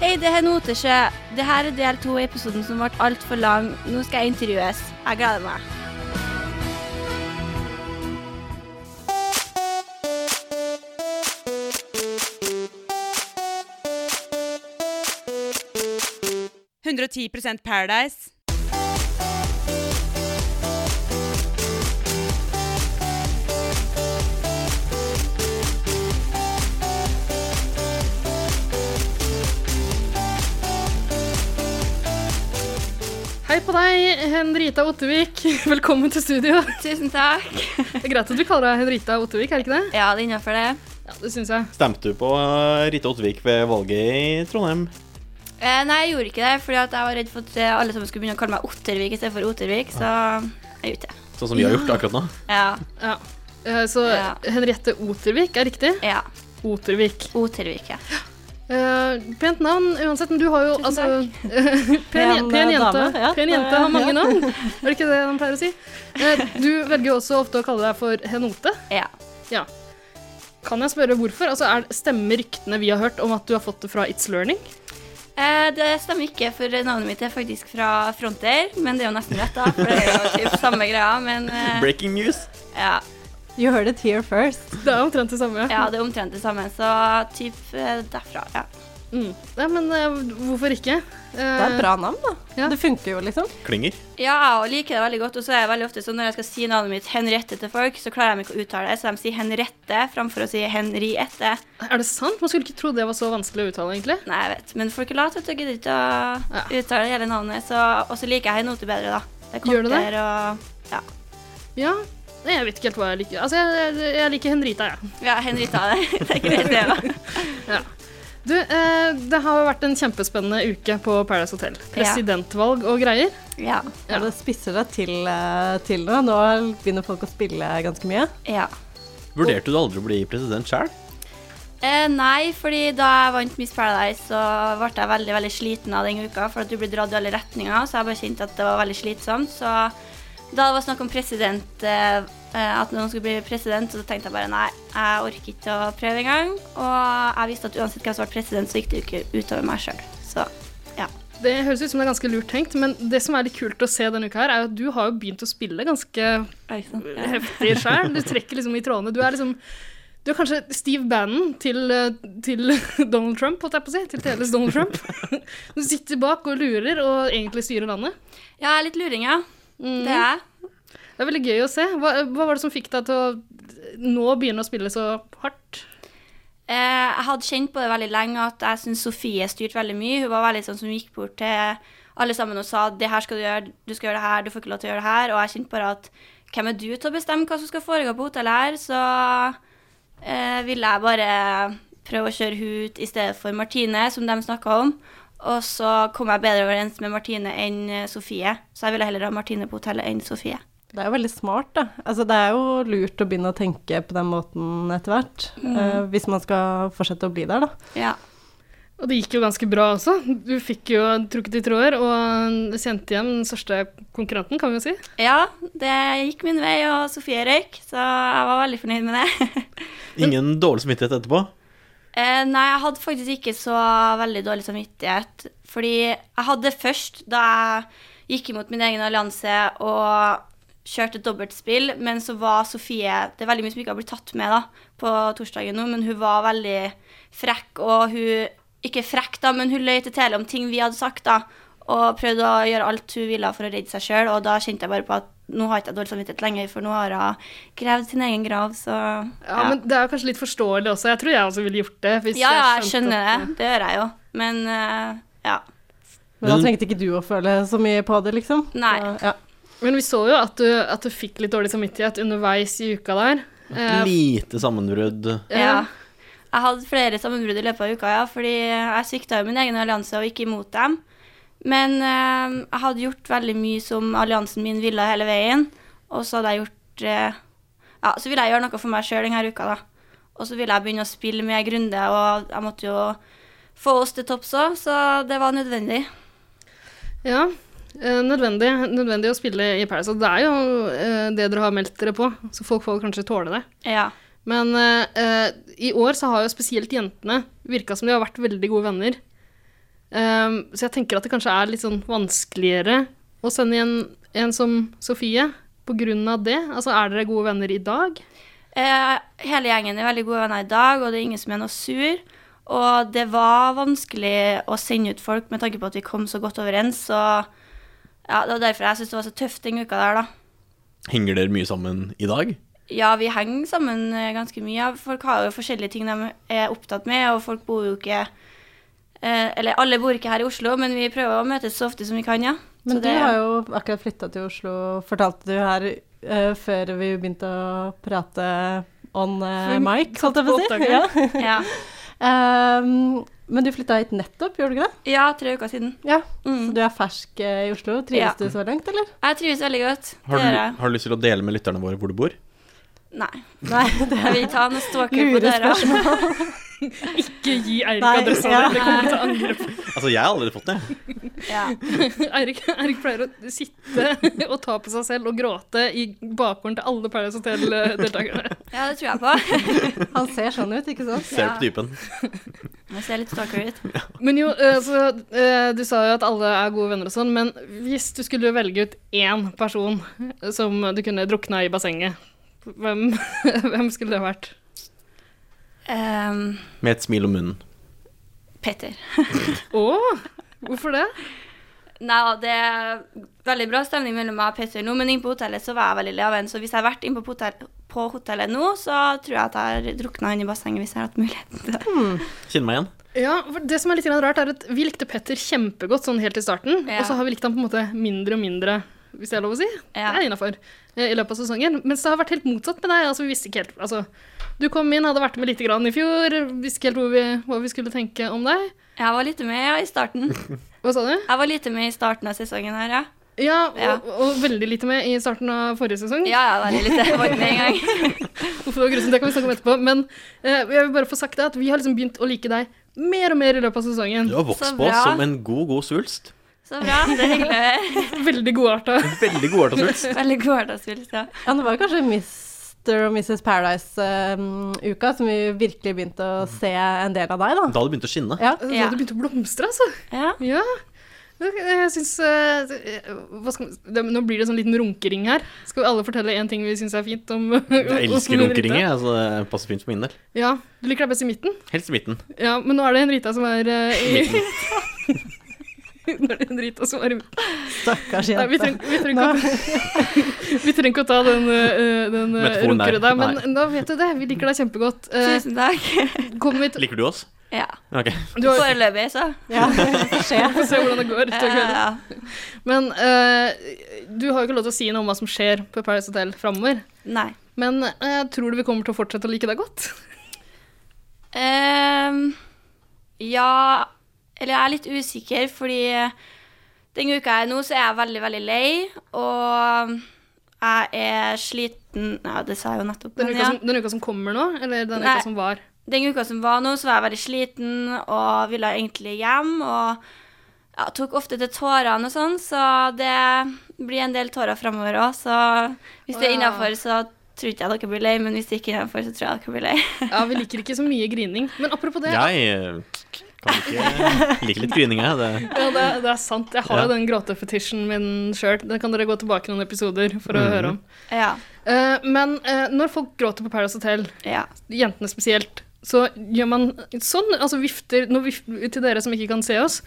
Hei, det her er Notesjø. Det her er del to i episoden som ble altfor lang. Nå skal jeg intervjues. Jeg gleder meg. Paradise. Hei på deg, Henrita Ottevik. Velkommen til studio. Tusen takk. Det er greit at du kaller deg Henrita Ottevik, er det ikke det? Ja, det er innafor, det. Ja, det syns jeg. Stemte du på eh, Rita Ottvik ved valget i Trondheim? Eh, nei, jeg gjorde ikke det, fordi at jeg var redd for at eh, alle sammen skulle begynne å kalle meg Ottervik istedenfor Ottervik, så jeg gjorde ikke det. Sånn som vi har gjort akkurat nå? Ja. Ja. Eh, Så Ja. Henriette Otervik er riktig. ja. Otervik. Otervik, ja. Eh, pent navn uansett, men du har jo altså Pen, Pen, pen, eh, jente, dame, ja. pen jente har mange navn. Er det ikke det de pleier å si? Eh, Du velger jo også ofte å kalle deg for Henote. ja. Ja. Kan jeg spørre hvorfor? Altså, er, Stemmer ryktene vi har hørt om at du har fått det fra It's Learning? Eh, det stemmer ikke, for navnet mitt er faktisk fra Fronter, men det er jo nesten rett, da. For det er jo typ samme greia, men eh, Breaking news! ja. You heard it here first. Det er omtrent det samme. ja, det er omtrent det samme, så typ eh, derfra, ja. Mm. Nei, men eh, hvorfor ikke? Eh, Det er et bra navn, da. Ja. Det funker jo, liksom. Klinger. Ja, og liker det veldig godt. Og så er jeg veldig ofte sånn når jeg skal si navnet mitt Henriette til folk, så klarer de ikke å uttale det, så de sier Henriette framfor å si Henriette. Er det sant? Man skulle ikke tro det var så vanskelig å uttale, egentlig. Nei, jeg vet, men folk er late, vet du. og Gidder ikke å uttale hele navnet. Så, og så liker jeg Henote bedre, da. Det er Gjør du det? kortere og Ja, Ja, Nei, jeg vet ikke helt hva jeg liker. Altså, jeg, jeg, jeg liker Henrita, jeg. ja Henrietta, det. det er greit, det òg. Du, eh, det har vært en kjempespennende uke på Paradise Hotel. Presidentvalg og greier. Ja. Ja. Ja. Det spisser deg til, eh, til nå. Nå begynner folk å spille ganske mye. ja. Vurderte du aldri å bli president sjøl? Eh, nei, fordi da jeg vant Miss Paradise, så ble jeg veldig veldig sliten av den uka. For at du blir dratt i alle retninger, så jeg bare kjente at det var veldig slitsomt. Så da det var snakk om president, eh, eh, at noen skulle bli president, så tenkte jeg bare nei, jeg orker ikke å prøve engang. Og jeg visste at uansett hvem som ble president, så gikk det jo ikke utover meg sjøl. Så ja. Det høres ut som det er ganske lurt tenkt, men det som er litt kult å se denne uka, her, er jo at du har jo begynt å spille ganske Ja. heftig sjøl. Du trekker liksom i trådene. Du er liksom du er kanskje Steve Bannon til, eh, til Donald Trump, holdt jeg på å si. Til TLs Donald Trump. Du sitter bak og lurer, og egentlig styrer landet. ja, jeg er litt luring, ja. Det er jeg. Det er veldig gøy å se. Hva, hva var det som fikk deg til å nå begynne å spille så hardt? Eh, jeg hadde kjent på det veldig lenge at jeg syntes Sofie styrte veldig mye. Hun var veldig sånn som gikk bort til alle sammen og sa det her skal du gjøre, du skal gjøre det her, du får ikke lov til å gjøre det her. Og jeg kjente bare at hvem er du til å bestemme hva som skal foregå på hotellet her? Så eh, ville jeg bare prøve å kjøre hun ut i stedet for Martine, som de snakka om. Og så kom jeg bedre overens med Martine enn eh, Sofie, så jeg ville heller ha Martine på hotellet enn Sofie. Det er jo veldig smart, da. Altså, det er jo lurt å begynne å tenke på den måten etter hvert. Mm. eh, hvis man skal fortsette å bli der, da. Ja. Og det gikk jo ganske bra også. Du fikk jo trukket i tråder og kjente igjen den største konkurrenten, kan vi jo si. ja, det gikk min vei, og Sofie røyk, så jeg var veldig fornøyd med det. Ingen dårlig samvittighet etterpå? Eh, nei, jeg hadde faktisk ikke så veldig dårlig samvittighet. Fordi jeg hadde det først da jeg gikk imot min egen allianse og kjørte et dobbeltspill, men så var Sofie Det er veldig mye som ikke har blitt tatt med da, på torsdagen nå, men hun var veldig frekk, og hun Ikke frekk, da, men hun løy til Tele om ting vi hadde sagt, da, og prøvde å gjøre alt hun ville for å redde seg sjøl, og da kjente jeg bare på at nå har jeg ikke dårlig samvittighet lenger, for nå har hun gravd sin egen grav, så Ja, men det er jo kanskje litt forståelig også. Jeg tror jeg også ville gjort det. hvis ja, ja, jeg skjønte skjønner at- det. Det gjør jeg jo. Men eh, ja. Men da Men- trengte ikke du å føle så mye på det, liksom. Nei. Så, ja. Men vi så jo at du, at du fikk litt dårlig samvittighet underveis i uka der. Eh, Lite sammenbrudd. ja. Jeg hadde flere sammenbrudd i løpet av uka, ja, fordi jeg svikta jo min egen allianse og gikk imot dem. Men eh, jeg hadde gjort veldig mye som alliansen min ville hele veien. Og så hadde jeg gjort eh, Ja, så ville jeg gjøre noe for meg sjøl denne uka, da. Og så ville jeg begynne å spille med Grunde, og jeg måtte jo få oss til topps òg, så det var nødvendig. ja. Eh, nødvendig, nødvendig å spille i Paradise. Og det er jo eh, det dere har meldt dere på, så folk får kanskje tåle det. Ja. Men eh, eh, i år så har jo spesielt jentene virka som de har vært veldig gode venner. Eh, Ehm, så jeg tenker at det kanskje er litt sånn vanskeligere å sende en, en som Sofie på grunn av det. Altså, er dere gode venner i dag? Eh, hele gjengen er veldig gode venner i dag, og det er ingen som er noe sur. Og det var vanskelig å sende ut folk med tanke på at vi kom så godt overens. Så ja, det var derfor jeg syntes det var så tøft den uka der, da. Henger dere mye sammen i dag? Ja, vi henger sammen eh, ganske mye. Ja, Folk har jo forskjellige ting de er opptatt med, og folk bor jo ikke eh, Eller alle bor ikke her i Oslo, men vi prøver å møtes så ofte som vi kan, ja. Men så du har jo akkurat flytta til Oslo, fortalte du her eh, før vi begynte å prate on uh, Før vi mic, holdt satte jeg på å på si. opptakeren. Ja. ja. Ehm, men du flytta hit nettopp, gjorde du ikke det? ja, tre uker siden. Ja. Mm. Så du er fersk eh, i Oslo. Ja. Trives du så langt, eller? Jeg trives veldig godt. Har Det du, gjør jeg. har du lyst til å dele med lytterne våre hvor du bor? Nei. Nei, det Jeg vil ikke ha noen stalker på Lure døra. Ikke gi Eirik Nei, adressa ja. di, det kommer til å angre på. Altså, jeg har allerede fått det. Ja. Eirik, Eirik pleier å sitte og ta på seg selv og gråte i bakgården til alle Paradise eh, Hotel-deltakerne. Ja, det tror jeg på. Han ser sånn ut, ikke sant? Ser på typen. Må se litt stalker ut. Men jo, eh, så, eh, du sa jo at alle er gode venner og sånn, men hvis du skulle velge ut én person som du kunne drukna i bassenget, hvem, hvem skulle det vært? Ehm, Med et smil om munnen. Petter. Å, hvorfor det? Nei, ja, det er veldig bra stemning mellom meg og Petter nå, men inne på hotellet så var jeg veldig lei av den. Så hvis jeg har vært inne på, hotell, på hotellet nå, så tror jeg at jeg har drukna inne i bassenget hvis jeg har hatt muligheten til det. Kjenner meg igjen. Ja, for det som er litt grann rart er at Vi likte Petter kjempegodt sånn helt i starten, Ja. og så har vi likt ham på en måte mindre og mindre, hvis det er lov å si. Ja. Det er innafor. eh, I løpet av sesongen. Mens det har vært helt motsatt med deg. altså vi visste ikke helt, altså Du kom inn, hadde vært med lite grann i fjor, visste ikke helt hvor vi, hva vi skulle tenke om deg. Jeg var lite med ja, i starten. Hva sa du? Jeg var lite med i starten av sesongen her, ja. Ja, og, Ja. og veldig lite med i starten av forrige sesong. Ja, ja, veldig lite. Jeg var ikke med engang. Hvorfor det var grusomt, det kan vi snakke om etterpå. Men eh, jeg vil bare få sagt det at vi har liksom begynt å like deg mer og mer i løpet av sesongen. Du har vokst Så på oss bra. som en god, god svulst. Så bra. Det er hyggelig å høre. Veldig godarta. Veldig god svulst. Veldig god hverdagsfølelse. Ja. Ja, det var kanskje Mr. og Mrs. Paradise-uka som vi virkelig begynte å se en del av deg, da. Da hadde det begynt å skinne. Ja. Da Ja. du begynte å blomstre, altså. Ja. Ja. Jeg syns eh, hva skal man, det, Nå blir det sånn liten runkering her. Skal vi alle fortelle én ting vi syns er fint om Jeg elsker runkeringer. Altså, det passer fint for min del. Ja, Du liker deg best i midten. Helst i midten. Ja, Men nå er det Henrita som er eh, i Nå er det Henrita som er i midten. Stakkars Nei, vi jente. trenger, vi, trenger ikke å, vi trenger ikke å ta den, eh, den eh, Metaforen der. runkere der, men Nei. da vet du det. Vi liker deg kjempegodt. Eh, Tusen takk. Kom hit. Liker du oss? Ja. Ok. Du har, Foreløpig, så. Ja, vi får se. vi får se hvordan det går. Ja, utover kvelden. ja. Men eh, du har jo ikke lov til å si noe om hva som skjer på Paradise Hotel framover. Nei. Men eh, tror du vi kommer til å fortsette å like deg godt? Ehm, ja Eller jeg er litt usikker, fordi den uka jeg er nå, så er jeg veldig, veldig lei. Og jeg er sliten Ja, det sa jeg jo nettopp. Den, men uka, ja. som, den uka som kommer nå, eller den Nei. uka som var? Den uka som var nå, så var jeg veldig sliten og ville egentlig hjem. Og ja, tok ofte til tårene og sånn, så det blir en del tårer framover òg. Så hvis det er Å, ja. innafor, så tror ikke jeg dere blir lei, men hvis det ikke er innafor, så tror jeg dere blir lei. Ja, vi liker ikke så mye grining. Men apropos det, ja. Jeg eh, kan ikke like litt grining, jeg. Det- det, er- det er sant. Jeg har jo Ja. den gråtefetisjen min sjøl. Den kan dere gå tilbake noen episoder for å Mhm. høre om. Ja. Eh, men eh, når folk gråter på Paradise Hotel, ja. jentene spesielt, så gjør man sånn, altså vifter nå vif, Til dere som ikke kan se oss,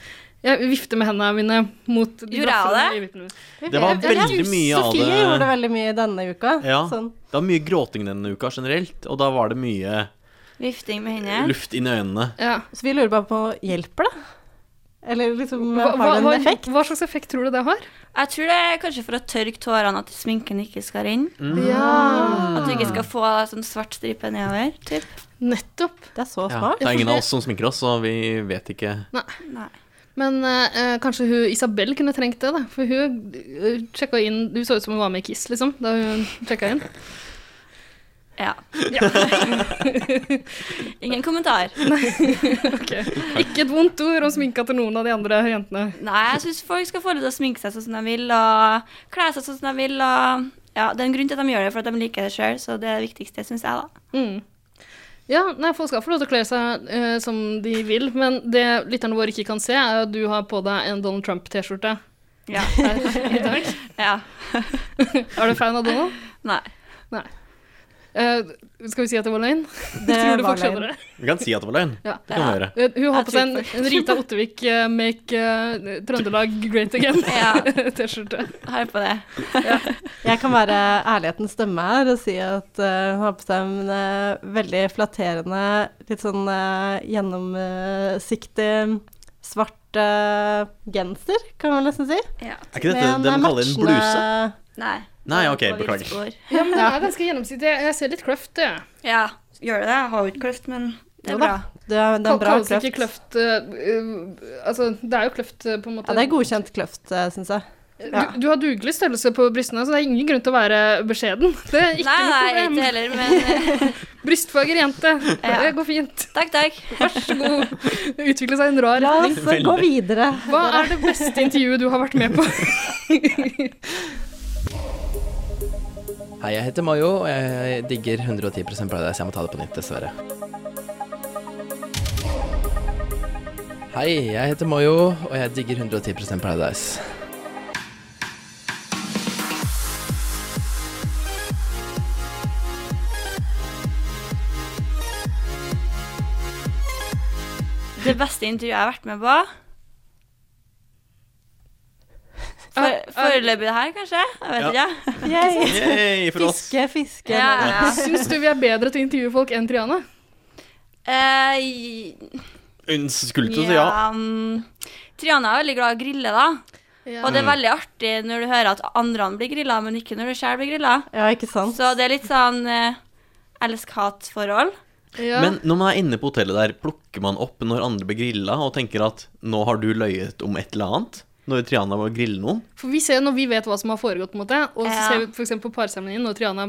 jeg vifter med hendene mine mot de Gjorde jeg blafrene det? i vippene mine. Det var Jeg vet- veldig mye av Sofie gjorde det. veldig mye denne uka. Ja. Sånn. Det var mye gråting denne uka generelt, og da var det mye Vifting med hendene. luft inn i øynene. Ja. Så vi lurer bare på hjelper det? Eller liksom Hva, hva, har det hva, en effekt? hva slags effekt tror du det har? Jeg tror det er kanskje for å tørke tårene at sminken ikke skal renne. Mm. At du ikke skal få sånn svart stripe nedover. Typ. Nettopp. Det er så Ja, smart. det er ingen av oss som sminker oss, så vi vet ikke Nei. Men eh, kanskje hun, Isabel kunne trengt det, da. For hun uh, sjekka inn Du så ut som hun var med i Kiss, liksom, da hun sjekka inn. Ja. Ja, Ingen kommentar. ok. Ikke et vondt ord om sminka til noen av de andre jentene. Nei, jeg syns folk skal få lov til å sminke seg sånn som de vil, og kle seg sånn som de vil, og ja, Det er en grunn til at de gjør det, for at de liker det sjøl, så det er det viktigste, syns jeg, da. Mm. Ja, nei, folk skal få lov til å kle seg eh, som de vil, men det lytterne våre ikke kan se, er at du har på deg en Donald Trump-T-skjorte Ja. her i dag. ja. Er du fan av Donald? Nei. Eh, skal vi si at det var løgn? Det Tror du var folk skjønner det? Vi kan si at det var løgn. Ja. Det kan vi gjøre. Eh, Hun har Jeg på seg en, tror en Rita Ottervik eh, Make eh, Trøndelag Great Ja. Again-T-skjorte. Har jeg på det. Jeg kan være ærlighetens stemme her og si at eh, hun har på seg en eh, veldig flatterende, litt sånn eh, gjennomsiktig svart eh, genser, kan man nesten si. Ja. Er ikke dette det eh, man kaller en bluse? Nei. Nei, ok, På beklager. viltspor. Ja, men den er ganske gjennomsiktig. Jeg ser litt kløft, jeg. Ja, gjør det det? Jeg Har jo ikke kløft, men det Jo er da. bra. Det er, det er en bra Kalles kløft. ikke kløft eh, eh, Altså, det er jo kløft eh, på en måte Ja, det er godkjent kløft, uh, syns jeg. ja. du, du har dugelig størrelse på brystene, så det er ingen grunn til å være beskjeden. Det er ikke Nei, noe nei, problem. ikke heller, men eh, Brystfager jente. Ja. Det går fint. takk, takk. Vær så god. Utvikle seg i en rar La retning. oss gå videre. Hva er det beste intervjuet du har vært med på? Hei, jeg heter Mayo, og jeg digger 110 Paradise. Jeg må ta det på nytt, dessverre. Hei, jeg heter Mayo, og jeg digger 110 Paradise. Det beste intervjuet jeg har vært med på. For, Er- er- Foreløpig det her, kanskje? Jeg vet Ja. ikke. Yay. Yay, for oss. Fiske, fiske. Ja, ja. Syns du vi er bedre til å intervjue folk enn Triana? Eh, i- Hun skulle til å si ja. mm, Triana er veldig glad i å grille, da. Og Mm. det er veldig artig når du hører at andre blir grilla, men ikke når du selv blir grilla. Ja, ikke sant. Så det er litt sånn eh, elsk-hat-forhold. Ja. Men når man er inne på hotellet der, plukker man opp når andre blir grilla og tenker at nå har du løyet om et eller annet? Når Triana var grille noen? For vi ser jo når vi vet hva som har foregått, på en måte, og så Ja. ser vi f.eks. på parseremonien når Triana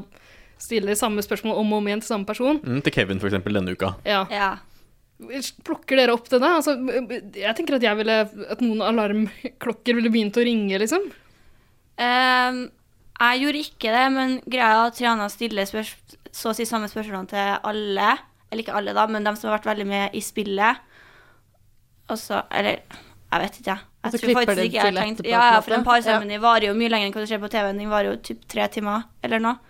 stiller samme spørsmål om og om igjen til samme person. Mm, til Kevin, for eksempel, denne uka. Ja. Ja. Plukker dere opp det da? Altså, jeg tenker at, jeg ville, at noen alarmklokker ville begynt å ringe, liksom. Ehm, jeg gjorde ikke det, men greia er at Triana stiller spørs så å si samme spørsmålene til alle. Eller ikke alle, da, men dem som har vært veldig med i spillet. Og så Eller jeg vet ikke, jeg. Og så Jeg tror Altså, klipper faktisk det ikke jeg til har tenkt etterpå, Ja, på en ja, for måte. en parseremoni varer jo mye lenger enn hva du ser på TV-en. Den varer jo typ tre timer eller noe.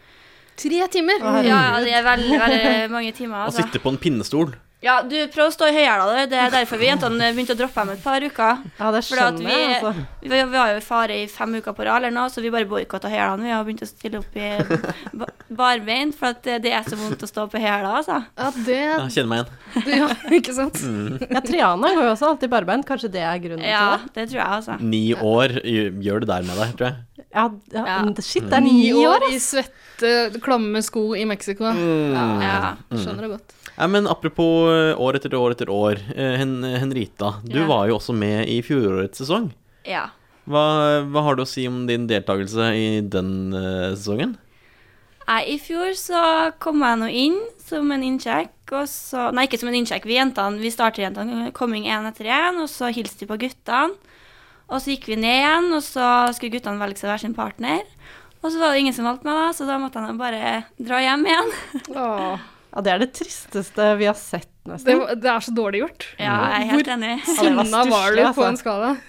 Tre timer! Ja, ja, det er veldig, veldig mange timer. Og Altså. sitte på en pinnestol. Ja, du prøv å stå i høyhæla, du. det er derfor vi jentene begynte å droppe dem et par uker. Ja, det Fordi at skjønner vi- jeg, altså. Vi var, vi var jo i fare i fem uker på rad, eller noe, så vi bare boikotta hælene. Vi har begynt å stille opp i ba- barbeint, for at eh, det er så vondt å stå på hæla, altså. Ja, det Ja, kjenner meg igjen. Ja, ikke sant? Ja, Triana går jo også alltid barbeint, kanskje det er grunnen Ja, til det tror jeg, altså. Ni år gjør gjør det der med deg, tror jeg. det? Ja, ja, Ja. Shit, Mm. det er ni år! i svette, klamme sko i Mexico. Mm. Ja. Skjønner det godt. Ja, men apropos eh, år etter år etter år. eh, Hen Henrita, du Ja. var jo også med i fjorårets sesong. ja. Hva, hva har du å si om din deltakelse i den eh, sesongen? Nei, I fjor så kom jeg nå inn som en innsjekk, og så Nei, ikke som en innsjekk, vi jentene, vi starterjentene kom inn én etter én, og så hilste vi på guttene. Og så gikk vi ned igjen, og så skulle guttene velge seg hver sin partner. Og så var det ingen som valgte meg, da, så da måtte jeg nå bare dra hjem igjen. Ja, det er det tristeste vi har sett, Det, nesten. var- det er så dårlig gjort. Ja, jeg er helt enig. det var Sinna var du på stusslig, altså. en skala.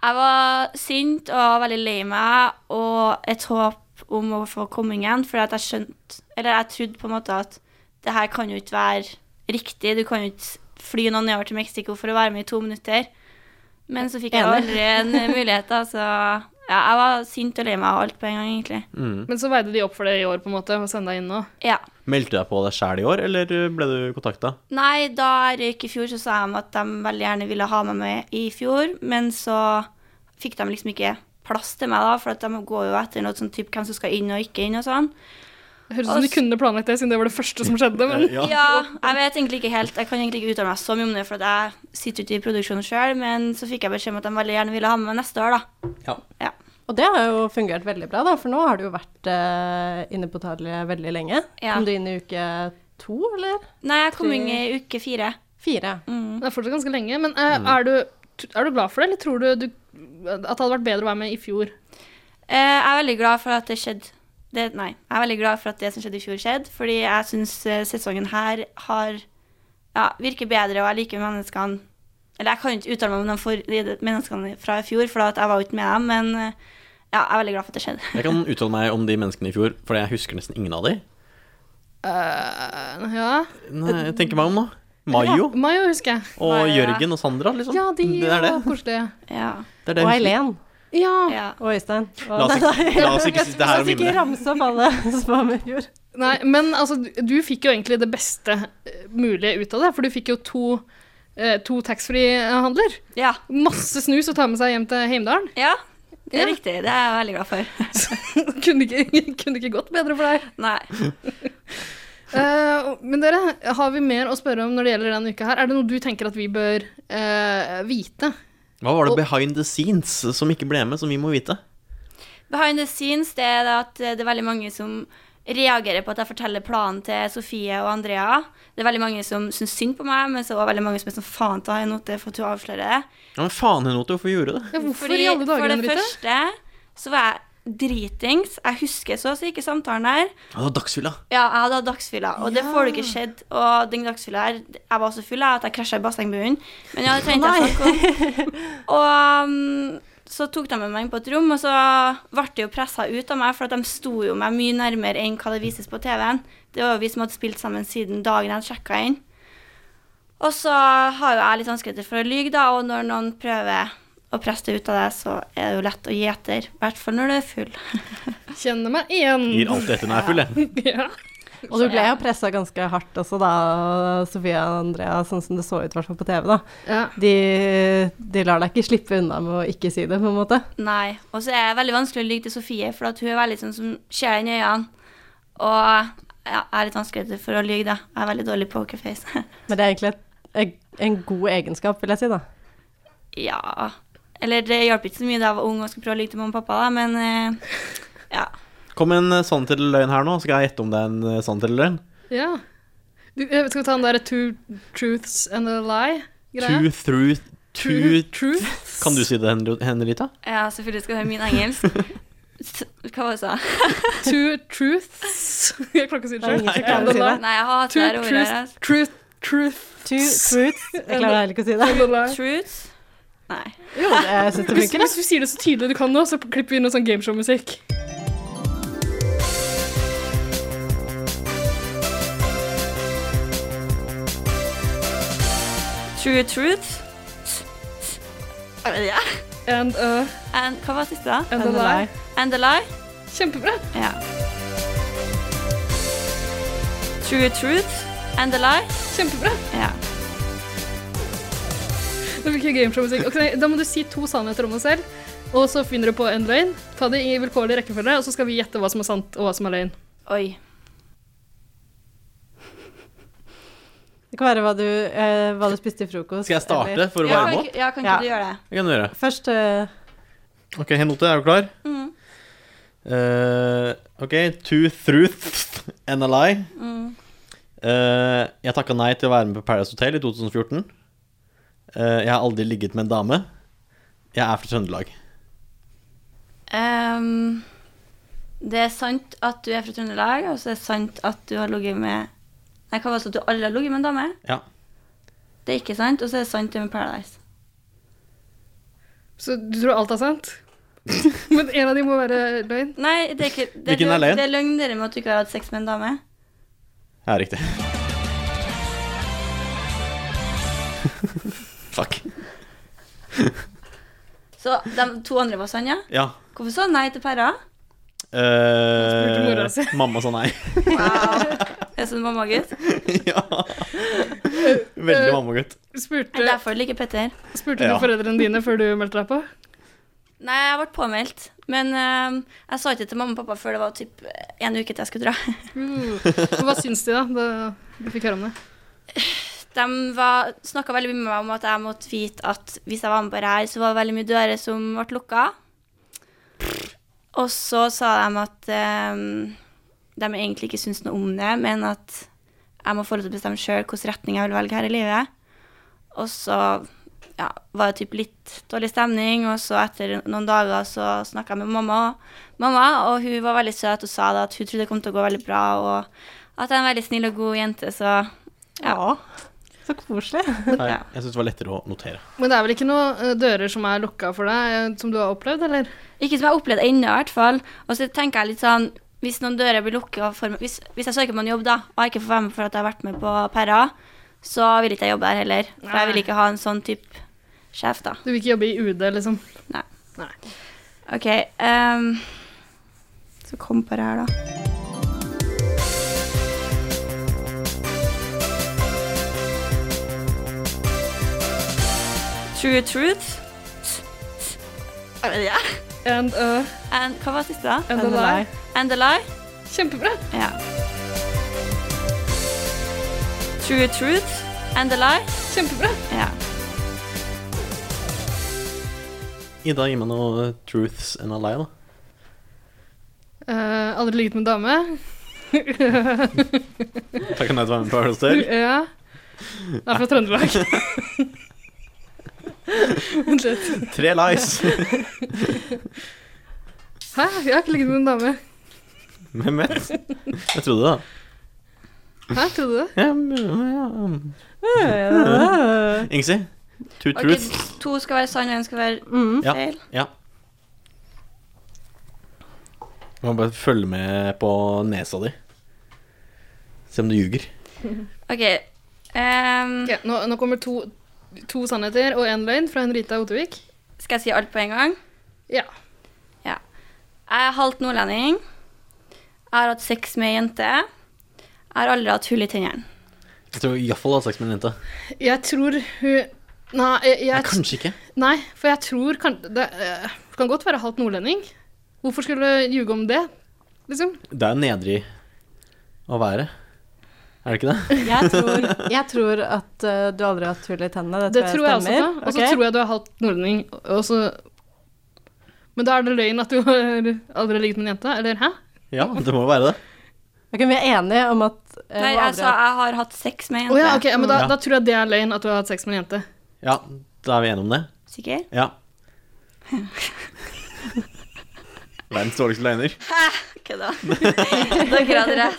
Jeg var sint og veldig lei meg, og et håp om å få komme inn igjen, fordi at jeg skjønte Eller jeg trodde på en måte at det her kan jo ikke være riktig. Du kan jo ikke fly noen nedover til Mexico for å være med i to minutter. Men så fikk jeg Enig. aldri en mulighet, da, så ja, jeg var sint og lei meg og alt på en gang, egentlig. Men så veide de opp for det i år, på en måte, og sendte deg inn nå. Ja. Meldte du deg på deg sjæl i år, eller eh, ble du kontakta? Nei, da jeg røyk i fjor, så sa de at de veldig gjerne ville ha meg med i fjor, men så fikk de liksom ikke plass til meg, da, for at de går jo etter noe sånn type hvem som skal inn og ikke inn og sånn. Høres ut som du Ass. kunne planlagt det, siden det var det første som skjedde. Men Ja. jeg vet egentlig ikke helt, jeg kan egentlig ikke uttale meg så mye om det, for at jeg sitter ikke i produksjonen sjøl, men så fikk jeg beskjed om at de veldig gjerne ville ha meg med neste år, da. Ja. Og det har jo fungert veldig bra, da, for nå har du jo vært eh, inne på hotellet veldig lenge. Ja. Kom du inn i uke to, eller? Nei, jeg kom inn i uke fire. Fire. det er fortsatt ganske lenge. Men eh, er, du, er du glad for det, eller tror du, du at det hadde vært bedre å være med i fjor? Eh, jeg er veldig glad for at det skjedde det, nei, jeg er veldig glad for at det som skjedde i fjor, skjedde. Fordi jeg syns eh, sesongen her har ja, virker bedre, og jeg liker menneskene Eller jeg kan jo ikke uttale meg om de for, menneskene fra i fjor, for at jeg var jo ikke med dem, men eh, ja, jeg er veldig glad for at det skjedde. Jeg kan uttale meg om de menneskene i fjor, for jeg husker nesten ingen av de. Eh, ja. Nei, jeg tenker meg om nå. Mayo Ja, Mayo husker jeg. og Jørgen og Sandra, liksom. Ja, de det er det. var koselige. Ja. det, er det Og jeg husker. Eileen. Ja. ja. Og Øystein. La oss ikke, la oss ikke sitte her og ikke mimre. ramse opp alle som var med i fjor. Nei, men altså, du, du fikk jo egentlig det beste eh, mulige ut av det, for du fikk jo to, eh, to taxfree-handler. Ja. Masse snus å ta med seg hjem til Heimdalen. ja. Det Ja. er riktig. Det er jeg veldig glad for. kunne, ikke, kunne ikke gått bedre for deg. Nei. Eh, men dere, har vi mer å spørre om når det gjelder denne uka her? Er det noe du tenker at vi bør eh, vite? Hva var det behind the scenes som ikke ble med, som vi må vite? Behind the scenes det er det at eh, det er veldig mange som reagerer på at jeg forteller planen til Sofie og Andrea. Det er veldig mange som syns synd på meg, men så er det også veldig mange som er sånn faen ta henne note for at hun avslører det. Ja, men faen, Henote, hvorfor gjorde du det? Ja, hvorfor Fordi i alle dager, For det Henriette? første så var jeg dritings. Jeg husker så å si ikke samtalen her. Ja, det var dagsfylla. Ja, jeg hadde hatt dagsfylla, og det får du ikke skjedd. Og den dagsfylla her Jeg var så full jeg, at jeg krasja i bassengbunnen. Men ja, det trengte jeg å snakke om. Og mm, så tok de med meg inn på et rom, og så ble det jo pressa ut av meg, for at de sto jo meg mye nærmere enn hva det vises på TV-en. Det var jo vi som hadde spilt sammen siden dagen jeg sjekka inn. Og så har jo jeg litt vanskeligheter for å lyge, da, og når noen prøver å presse det ut av deg, så er det jo lett å gi etter. I hvert fall når du er full. Kjenner meg igjen. Gir alt etter når jeg er full, jeg. Ja. Og du ble jo pressa ganske hardt også, da, Sofia og Andrea, sånn som det så ut i hvert fall på TV, da. Ja. De, de lar deg ikke slippe unna med å ikke si det, på en måte. Nei. Og så er det veldig vanskelig å lyge til Sofie, for at hun er veldig sånn som ser deg i øynene. Og ja, jeg er litt vanskelig for å lyge, da. Jeg er veldig dårlig på pokerface. Men det er egentlig et, et- en god egenskap, vil jeg si, da. ja Eller det hjalp ikke så mye da jeg var ung og skulle prøve å lyge til mamma og pappa, da, men eh, ja. Kom en eh, sannhet eller løgn her nå, så skal jeg gjette om det er en eh, sannhet eller løgn. ja. Du, eh, skal vi ta den derre two truths and a lie-greia? Two through two truths. Kan du si det, Henri- Henrita? ja selvfølgelig skal du høre min engelsk. S- Hva var det jeg sa Two truths. Jeg klarer ikke å si det Det er ingen som sjøl. klarer å si det. Nei, jeg har hatt det Two her ordet. truths. her, altså. Truth, truth Two truths. Jeg klarer heller ikke å si det. and a altså. lie. Truths? Nei. Jo, det- jeg syns det Hvis, funker, jeg. hvis du sier det så tydelig du kan nå, så klipper vi inn noe sånn gameshow-musikk. True truth. Jeg vet ikke. And a, And, hva var det siste, da? and a And a lie. lie. And a lie? Kjempebra. Ja. True truth and a lie. Kjempebra. Ja. Nå fikk jeg gameshow-musikk. Ok, da må du si to sannheter om deg selv, og så finner du på en løgn. Ta det i vilkårlig rekkefølge, og så skal vi gjette hva som er sant, og hva som er løgn. Oi. Det kan være hva du, eh, hva du spiste i frokost. Skal jeg starte eller- for å Ja, kan varme opp? ikke, ja, kan ikke Ja. du gjøre det? Det kan du gjøre. Først eh, Ok, Henote, er du klar? Mm. Eh, ok, two truths and a lie. Mm. Eh, jeg takka nei til å være med på Paradise Hotel i 2014. Eh, jeg har aldri ligget med en dame. Jeg er fra Trøndelag. Ehm, det er sant at du er fra Trøndelag, og så er det sant at du har ligget med Nei, hva var det så at du aldri har ligget med en dame? Ja. Det er ikke sant, og så er det sant det med Paradise. Så du tror alt er sant? Men en av de må være løgn. Nei, det er ikke det, Hvilken er løgn? Det er løgn dere med at du ikke har hatt sex med en dame. Ja, riktig. Fuck. Så de to andre var sann, ja? Ja. Hvorfor sa du nei til Perra? eh, spurte mora si. mamma sa nei. Er det sånn mammagutt? Det ja. Veldig mammagutt. er Spurte, derfor du liker Petter. spurte Ja. du foreldrene dine før du meldte deg på? Nei, jeg ble påmeldt, men eh, jeg sa ikke til mamma og pappa før det var typ en uke til jeg skulle dra. Og Hva syns de, da? da du fikk høre om det? De snakka veldig mye med meg om at jeg måtte vite at hvis jeg var med på det her, så var det veldig mye dører som ble lukka. Og så sa de at eh, de egentlig ikke syntes noe om det, men at jeg må få lov til å bestemme sjøl hvilken retning jeg vil velge her i livet. Og så ja, var det typ litt dårlig stemning, og så etter noen dager så snakka jeg med mamma, mamma, og hun var veldig søt og sa da at hun trodde det kom til å gå veldig bra, og at jeg er en veldig snill og god jente, så ja. Så koselig. Nei, Ja. jeg syns det var lettere å notere. Men det er vel ikke noen eh, dører som er lukka for deg, eh, som du har opplevd, eller? Ikke som jeg har opplevd ennå, i hvert fall. Og så tenker jeg litt sånn Hvis noen dører blir lukka for meg hvis, hvis jeg søker på en jobb, da, og jeg ikke får være med for at jeg har vært med på Perra, så vil ikke jeg jobbe der heller. For jeg vil Nei. ikke ha en sånn type sjef, da. Du vil ikke jobbe i UD, liksom? Nei. Nei. OK. ehm, så kom på det her, da. True truth. Jeg vet ikke. And, uh, And, hva var siste, da? and a Enn lie. deg. And a lie? Kjempebra. Ja. True truth and a lie? Kjempebra. Ja. Ida, gi meg noe eh, truths and a lie, da. Eh, aldri ligget med en dame. Takk nei til å være med på Paradise Hotel. ja. Det er fra Trøndelag. Vent litt. Tre lies! Hæ? Jeg har ikke ligget med en dame. Hvem vet? Jeg trodde det, da. Hæ, trodde du det? Ja, ja, ja. Ingsi? Two Ok, truths. to skal være sann, og én skal være Mm. Ja. feil. Du må bare følge med på nesa di. Se om du ljuger. OK. ehm, Ok, nå, nå kommer to, to sannheter og én løgn fra Henrita Ottervik. Skal jeg si alt på en gang? Ja. Jeg er halvt nordlending. Jeg har hatt sex med ei jente. Jeg har aldri hatt hull i tennene. Jeg tror iallfall du har sex med en jente. Jeg tror hun Nei, jeg, Nei, jeg, kanskje ikke. nei for jeg tror kan, det eh, kan godt være halvt nordlending. Hvorfor skulle jeg ljuge om det, liksom? Det er jo nedrig å være. Er det ikke det? Jeg, tror, jeg tror at eh, du aldri har hatt hull i tennene. Det, Det tror jeg også på. stemmer. Og så Ok. tror jeg du er halvt nordlending, og så Men da er det løgn at du har aldri ligget med en jente, eller hæ? Ja, det må jo være det. Ok, Vi er enige om at eh, Nei, hun jeg aldri sa har- jeg har hatt sex med ei Å jente. ja, ok, men da, Ja. da tror jeg det er løgn at du har hatt sex med en jente. Ja, da er vi enige om det. Sikker? Ja. Verdens dårligste løgner. Kødda. Dere hadde rett.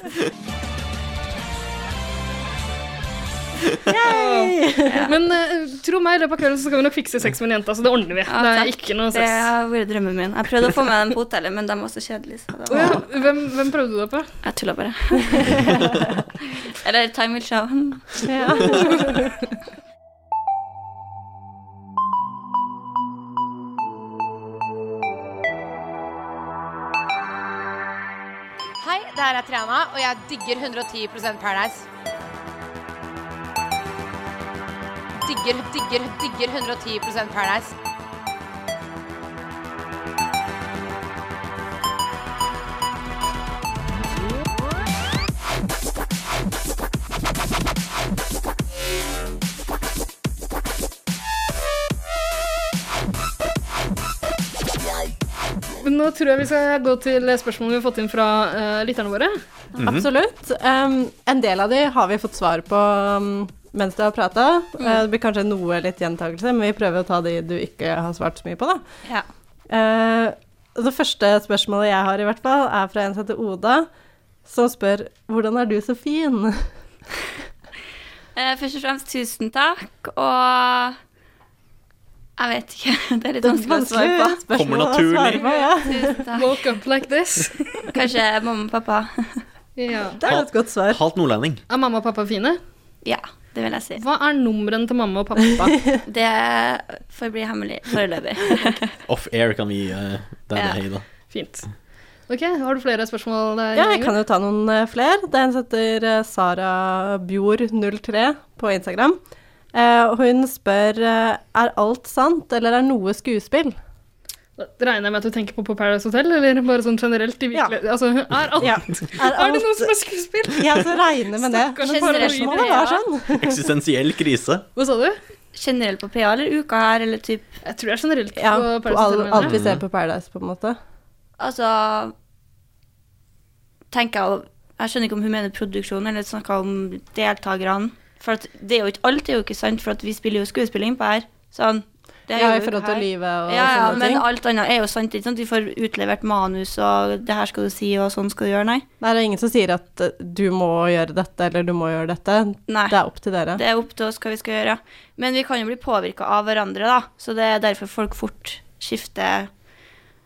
Men eh, tro meg, i løpet av kvelden så skal vi nok fikse sex med en jente, så det ordner vi. Ja, det er takk. ikke noe Det sex. har vært drømmen min. Jeg prøvde å få med dem på hotellet, men de var så kjedelige. Så det Å var... ja, hvem, hvem prøvde du deg på? Jeg tulla bare. Eller time will show. Hei, det her er Triana, og jeg digger 110 Paradise. Digger, digger, digger 110 Paradise. Men nå tror jeg vi skal gå til spørsmålene vi har fått inn fra eh, lytterne våre. Mhm. Absolutt. Um, en del av de har vi fått svar på um, mens du har prata. Uh, det blir kanskje noe litt gjentakelse, men vi prøver å ta de du ikke har svart så mye på, da. Ja. Eh, det første spørsmålet jeg har, i hvert fall, er fra en som heter Oda, som spør 'Hvordan er du så fin?' Eh, først og fremst tusen takk, og jeg vet ikke. Det er litt vanskelig å svare på. Kommer spørsmål å naturlig. svare på. Ja. Tusen takk. Woke up like this. Kanskje mamma og pappa. ja. Det er et godt svar. Halvt nordlending. Er mamma og pappa fine? Ja, det vil jeg si. Hva er numrene til mamma og pappa? Det får bli hemmelig foreløpig. Off air kan vi gi eh, deg det, Ida. Fint. Ok, har du flere spørsmål? der, Ja, jeg Ingrid? kan jo ta noen eh, fler. Det er en som heter eh, Sara Bjor03 på Instagram. Eh, og hun spør eh, er alt sant, eller er noe skuespill? Da regner jeg med at du tenker på på Paradise Hotel, eller bare sånn generelt i Ja. virkelig... Altså, er alt... Er Er det alt noen som er skuespill? Ja, så regner med det. Stakkars Generelt paranoide. Spørsmålet var sånn. Eksistensiell krise. Hva sa du? Generelt på PA eller uka her, eller typ Jeg tror det er generelt Ja, på på Paradise all, Hotel. alt mener jeg. vi ser på Paradise, på en måte. Altså Tenker jeg jo- Jeg skjønner ikke om hun mener produksjonen, eller snakker om deltakerne. For at det er jo ikke, alt er jo ikke sant, for at vi spiller jo skuespilling på her. Sånn. Det Ja, i jo forhold til her. livet og ja, ja, sånne men ting. alt annet er jo sant. Ikke sant? Vi får utlevert manus og 'det her skal du si', og 'sånn skal du gjøre'. Nei. Nei, det er ingen som sier at eh, du må gjøre dette, eller du må gjøre dette. Nei. Det er opp til dere. Det er opp til oss hva vi skal gjøre. Men vi kan jo bli påvirka av hverandre, da. Så det er derfor folk fort skifter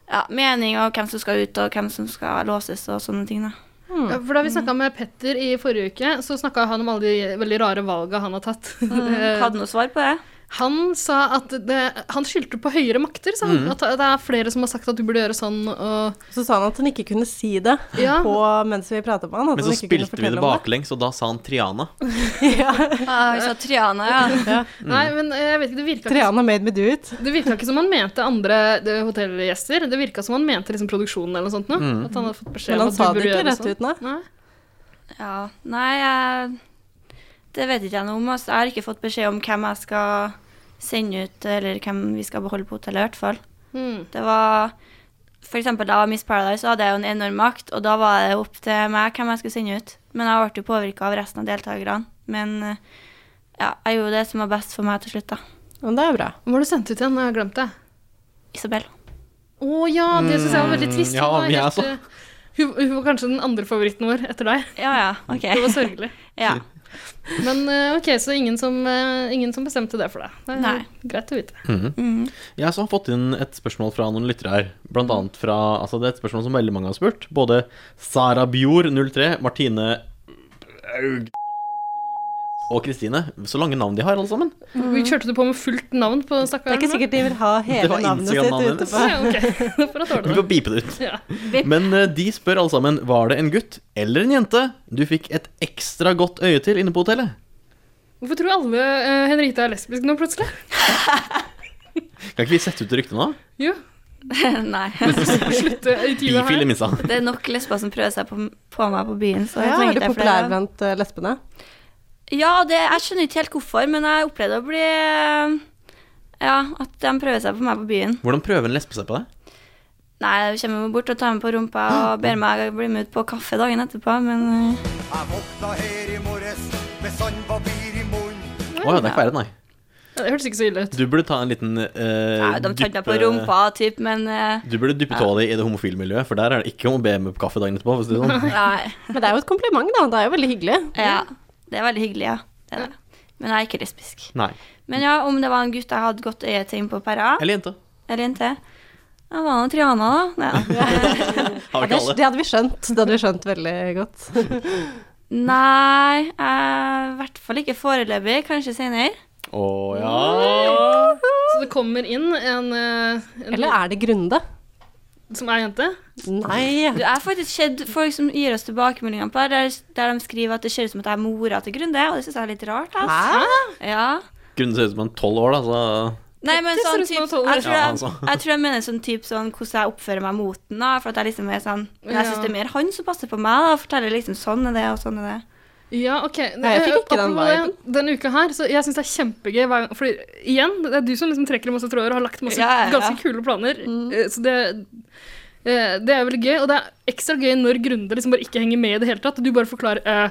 ja, mening og hvem som skal ut, og hvem som skal låses, og sånne ting. da. Ja, for Da vi snakka med Petter i forrige uke, så snakka han om alle de veldig rare valga han har tatt. Mm, Eh, Mm, Hadde noe svar på det? han sa at det, han skyldte på høyere makter. Sa han. At det er flere som har sagt at du burde gjøre sånn og Så sa han at han ikke kunne si det Ja. på, mens vi pratet med han. At Men så han ikke kunne spilte vi fortelle det om baklengs, og da sa han Triana. Ah, vi sa Triana, ja. Nei, men eh, jeg vet ikke, det virka ikke Triana made me do it. Det virka ikke som han mente andre det, hotellgjester. Det virka som han mente liksom produksjonen eller noe sånt. nå. Mm. At han hadde fått beskjed Men om at han sa du burde det ikke gjøre rett sånn. ut, nei. Nei. ja. Nei, jeg, det vet ikke jeg noe om. Altså. Jeg har ikke fått beskjed om hvem jeg skal sende ut, eller hvem vi skal beholde på hotellet, i hvert fall. Mm. Det var For eksempel da jeg var Miss Paradise, så hadde jeg jo en enorm makt, og da var det opp til meg hvem jeg skulle sende ut. Men jeg ble jo påvirka av resten av deltakerne. Men eh, ja, jeg gjorde det som var best for meg til slutt, da. Men det er bra. Hva var det sendt ut igjen? Jeg har glemt det. Isabel. Å ja, det syns jeg var veldig trist. Mm, ja, Hun var men jeg helt, også. eh, hun, hun var kanskje den andre favoritten vår etter deg. Ja, ja. OK. Det var sørgelig. Ja. Men eh, ok, så ingen som, eh, ingen som bestemte det for deg. Det er Nei. greit å vite. Mm. Jeg har også fått inn et spørsmål fra noen lyttere her. Blant annet fra Altså, det er et spørsmål som veldig mange har spurt. Både Sara Bjor, 03, Martine Aug- og Kristine. Så lange navn de har, alle sammen. Vi kjørte du på med fullt navn på Det er stakkaren? ikke sikkert de vil ha Det hele var navnet sitt Instagram-navnet ute hennes. på. Ja, ok. For å Vi tåle det. får bipe det ut. Ja. Men eh, de spør alle sammen Var det en gutt eller en jente du fikk et ekstra godt øye til inne på hotellet. Hvorfor tror alle eh, Henrita er lesbisk nå, plutselig? Kan ikke vi sette ut ryktet nå? Jo, Nei. slutte intervjuet Bifil i her. minsta. Det er nok lesber som prøver seg på, på meg på byen, så jeg Ja, er trenger du ikke flere. populær blant eh, lesbene? Ja, det, jeg skjønner ikke helt hvorfor, men jeg opplevde å bli eh, Ja, at de prøver seg på meg på byen. Hvordan prøver en lesbe seg på deg? Nei, de kommer bort og tar meg på rumpa og ber meg bli med ut på kaffe dagen etterpå, men eh, Jeg våkna her i morges med sandpapir i munnen. Å ja, det er ikke verre, nei. Ja, Det hørtes ikke så ille ut. Du burde ta en liten eh, nei, de tar meg på dyppe- rumpa, typ, men eh, Du burde dyppe tåa di i det homofile miljøet, for der er det ikke om å be med på kaffe dagen etterpå. for å si det sånn. Nei. Men det er jo et kompliment, da. Det er jo veldig hyggelig. Ja. Det er veldig hyggelig, ja. Det er det. Men jeg er ikke lesbisk. Nei. Men ja, om det var en gutt jeg hadde godt øye til på Perra, Eller jente. eller jente Jeg var nå Triana, da. Nei, da. Har vi Det, ikke alle? det hadde vi skjønt. Det hadde vi skjønt veldig godt. Nei, jeg- i hvert fall ikke foreløpig. Kanskje senere. Å ja. Så det kommer inn en, eh, en Eller er det Grunde? som er jente. Nei. Du, jeg har faktisk sett folk som gir oss tilbakemeldinger på det, der, der de skriver at det ser ut som at jeg er mora til Grunde, og det syns jeg er litt rart. Altså. Ja. Grunnen ser ut som en tolv år, da, så Nei, men Det ser sånn ut som typ, at hun- jeg, tror Ja, jeg, altså. jeg tror jeg mener sånn typ sånn hvordan jeg oppfører meg mot den, da. For at jeg liksom er sånn Men jeg syns det er mer han som passer på meg, da. og Forteller liksom sånn er det, og sånn er det. Ja, ok. Nei, jeg fikk ikke den Apropos det, Denne uka her, så jeg syns det er kjempegøy. hver- Fordi igjen, det er du som liksom trekker i masse tråder og har lagt masse Ja, ja, ja. ganske kule planer. Eh, Så det, eh, det er veldig gøy. Og det er ekstra gøy når Grunde liksom bare ikke henger med i det hele tatt. og Du bare forklarer eh,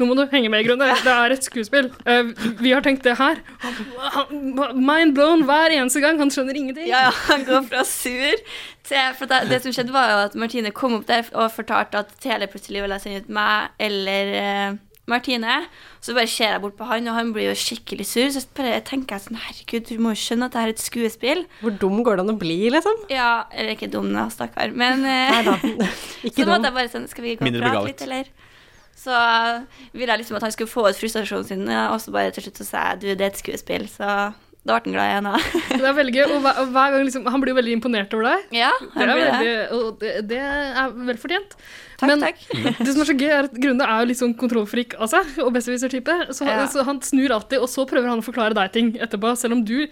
Nå må du henge med, Grunde. Det er et skuespill. Eh, vi har tenkt det her. Han- Mind blown hver eneste gang. Han skjønner ingenting. Ja, ja, han går fra sur til For det, det som skjedde, var jo at Martine kom opp der og fortalte at Tele plutselig ville sende ut meg eller eh, Martine. Så bare ser jeg bort på han, og han blir jo skikkelig sur. Så bare tenker jeg sånn Herregud, du må jo skjønne at det her er et skuespill. Hvor dum går det an å bli, liksom? Ja, eller ikke dum, da, stakkar. Men eh, Nei da. så Ikke måtte jeg dum. bare sånn Skal vi gå og Mindre prate begavet. litt, eller? Så eh, ville jeg liksom at han skulle få ut frustrasjonen sin, eh, og så bare til slutt så sa jeg du, det er et skuespill. Så da ble han glad igjen, da. Det er veldig gøy. Og hver, og hver gang liksom, han blir jo veldig imponert over deg. ja, Det han er, ble det. veldig, og det, det er vel fortjent. Takk, Men takk. Mm. det som er så gøy, er at Grunde er jo litt sånn kontrollfrik av seg, og besserwisser-type. Så, han- Ja. så han snur alltid, og så prøver han å forklare deg ting etterpå, selv om du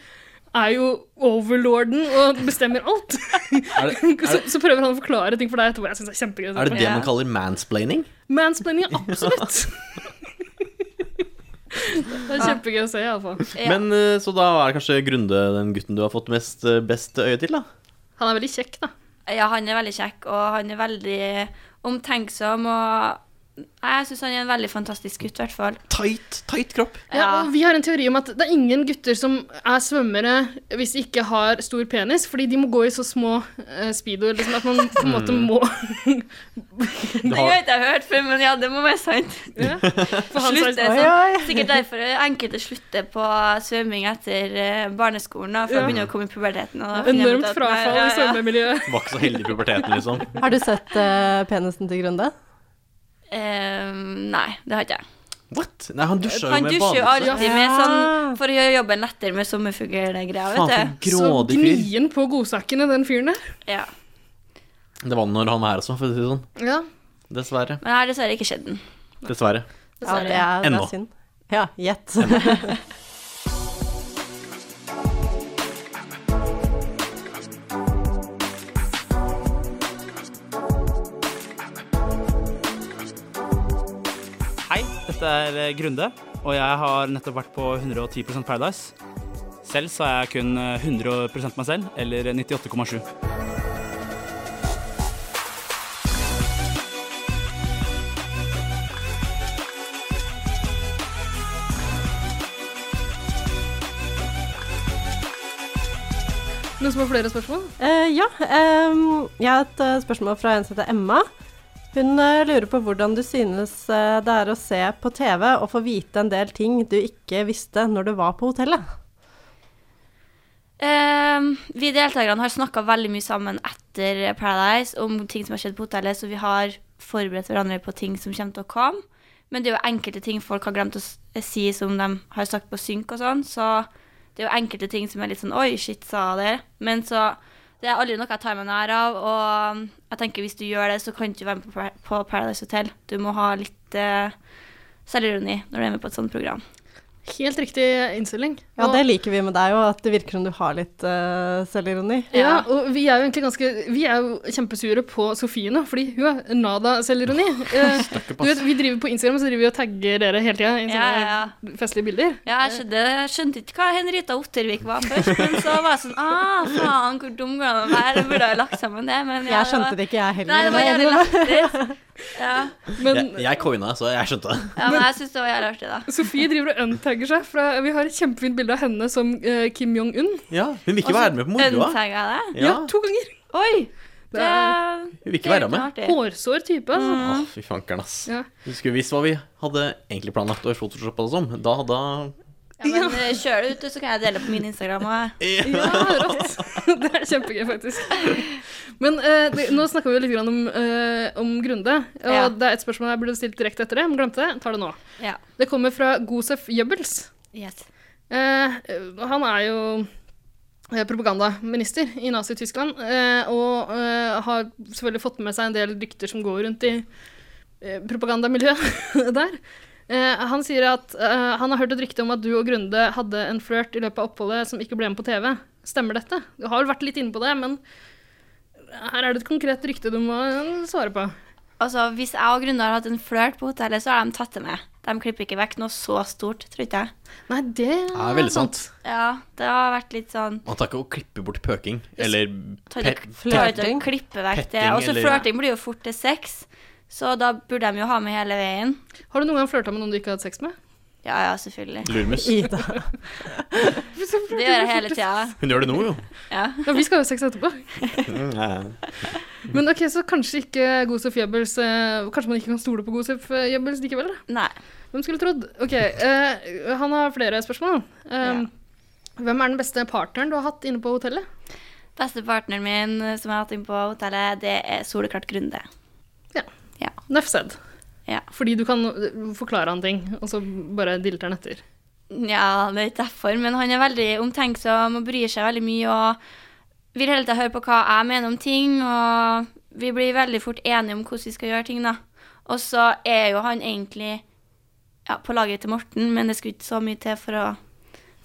er jo overlorden og bestemmer alt. er det, er Så, det, så prøver han å forklare ting for deg etterpå. Jeg synes det er kjempegøy. er det det Ja. man kaller mansplaining? Mansplaining, absolutt. Det er kjempegøy å se, iallfall. Ja. Men eh, Så da er det kanskje Grunde den gutten du har fått mest eh, best øye til, da? Han er veldig kjekk, da. Ja, han er veldig kjekk, og han er veldig omtenksom. Og Jeg syns han er en veldig fantastisk gutt, i hvert fall. Tight, tight kropp. Ja, og vi har en teori om at det er ingen gutter som er svømmere hvis de ikke har stor penis, fordi de må gå i så små eh, speedoer liksom, at man på en måte Mm. må Det har jeg ikke hørt før, men ja, det må være sant. ja, for hans Slutt, det er- er Oi, sånn. oi. Sikkert derfor enkelte slutter på svømming etter eh, barneskolen, da, for Ja. å begynne å komme i puberteten. og da finner jeg ut Enormt at- Nei, frafall i ja, ja. svømmemiljøet. Var ikke så heldig i puberteten, liksom. Har du sett eh, penisen til Grunde? Eh, nei, det har ikke jeg. What? Nei, han dusja jo Han med dusjer jo badebukse. alltid med sånn Ja. for å gjøre jobben lettere med sommerfuglgreier, Faen, vet for Så en grådig fyr. gnien på godsakene, den fyren der. du. Ja. Det var det når han var her også, for å si det sånn. Ja. Dessverre. Men jeg har dessverre ikke sett den. Dessverre. Ja, det er, det Ennå. er synd. Ja, gjett. Hei, dette er eh, Grunde, og jeg har nettopp vært på 110 Paradise. Selv så er jeg kun eh, 100 meg selv, eller 98,7. Noen som har flere spørsmål? Eh, ja, ehm, jeg har et eh, spørsmål fra en som heter Emma. Hun eh, lurer på hvordan du synes eh, det er å se på TV og få vite en del ting du ikke visste når du var på hotellet. Ehm, vi deltakerne har snakka veldig mye sammen etter Paradise om ting som har skjedd på hotellet, så vi har forberedt hverandre på ting som kommer til å komme. Men det er jo enkelte ting folk har glemt å s- eh, si som de har sagt på synk og sånn, så det er jo enkelte ting som er litt sånn Oi, shit, sa jeg det? Men så Det er aldri noe jeg tar meg nær av, og jeg tenker hvis du gjør det, så kan du ikke være med på, Par- på Paradise Hotel. Du må ha litt eh, selvironi når du er med på et sånt program. Helt riktig innstilling. Ja, Og- det liker vi med deg òg, at det virker som du har litt eh, selvironi. Ja, og vi er jo egentlig ganske Vi er jo kjempesure på Sofie nå, fordi hun er nada selvironi. Eh, du vet, vi driver på Instagram, så driver vi og tagger dere hele tida i sånne Ja, ja, festlige bilder. Ja, jeg skjønte, jeg skjønte ikke hva Henrietta Ottervik var først, men så var jeg sånn ah, faen, hvor dum går det an å være? Jeg burde ha lagt sammen det, men ja, Jeg skjønte det ikke, jeg var- Nei, det heller. var jævlig lættis. Ja. Men Jeg, jeg coina, så jeg skjønte det. ja, men jeg syns det var jævlig artig, da. Sofie driver og untagger seg. Fra, vi har et kjempefint bilde av henne som eh, Kim Jong-un. Ja, Hun vil ikke være med på moroa. Unntaket av det? Altså, Ja. Ja, to ganger. Oi! Det Det, er hun vil ikke være med. det er artig. Mm. hårsår type. Altså. Å, fy fankeren, ass. Ja. Du skulle visst hva vi hadde egentlig planlagt å photoshoppa det som. Da hadde Ja, men eh, kjør det ut, du, så kan jeg dele på min Instagram. Og, Ja, rått. Det er kjempegøy, faktisk. Men eh, det, nå snakka vi jo litt grann om, eh, om Grunde. Og Ja. det er et spørsmål jeg burde stilt direkte etter det, men glemte det. Tar det nå. ja. Det kommer fra Gosef Jøbbels. Yes. Eh, han er jo eh, propagandaminister i Nazi-Tyskland, eh, og eh, har selvfølgelig fått med seg en del rykter som går rundt i eh, propagandamiljøet der. Eh, han sier at eh, han har hørt et rykte om at du og Grunde hadde en flørt i løpet av oppholdet som ikke ble med på TV. Stemmer dette? Du har vel vært litt inne på det, men her er det et konkret rykte du må eh, svare på. Altså, Hvis jeg og Grunde har hatt en flørt på hotellet, så har de tatt det med. De klipper ikke vekk noe så stort, tror ikke jeg. Nei, det Ja, veldig sant. Ja, det har vært litt sånn Man tar ikke å klippe bort pøking eller Ta pet. ikke- ta ikke flørting. og klippe vekk det. Petting Og så eller- flørting blir jo fort til sex, så da burde de jo ha med hele veien. Har du noen gang flørta med noen du ikke har hatt sex med? Ja, ja, selvfølgelig. Lurmus. Ida. Det gjør jeg hele tida. Hun gjør det nå, jo. Ja. Ja, vi skal ha sex etterpå. Men ok, så kanskje ikke Gosef Jebels eh, Kanskje man ikke kan stole på Gosef eh, Jebels likevel? da? Nei. Hvem skulle trodd? Ok, eh, Han har flere spørsmål. Eh, Hvem er den beste partneren du har hatt inne på hotellet? Beste partneren min eh, som jeg har hatt inn på hotellet, det er soleklart Grunde. Nuff said. Ja. Fordi du kan eh, forklare han ting, og så bare dilter han etter. Ja, det er ikke derfor, men han er veldig omtenksom og bryr seg veldig mye og vil hele tida høre på hva jeg mener om ting, og vi blir veldig fort enige om hvordan vi skal gjøre ting, da. Og så er jo han egentlig ja, på laget til Morten, men det skulle ikke så mye til for å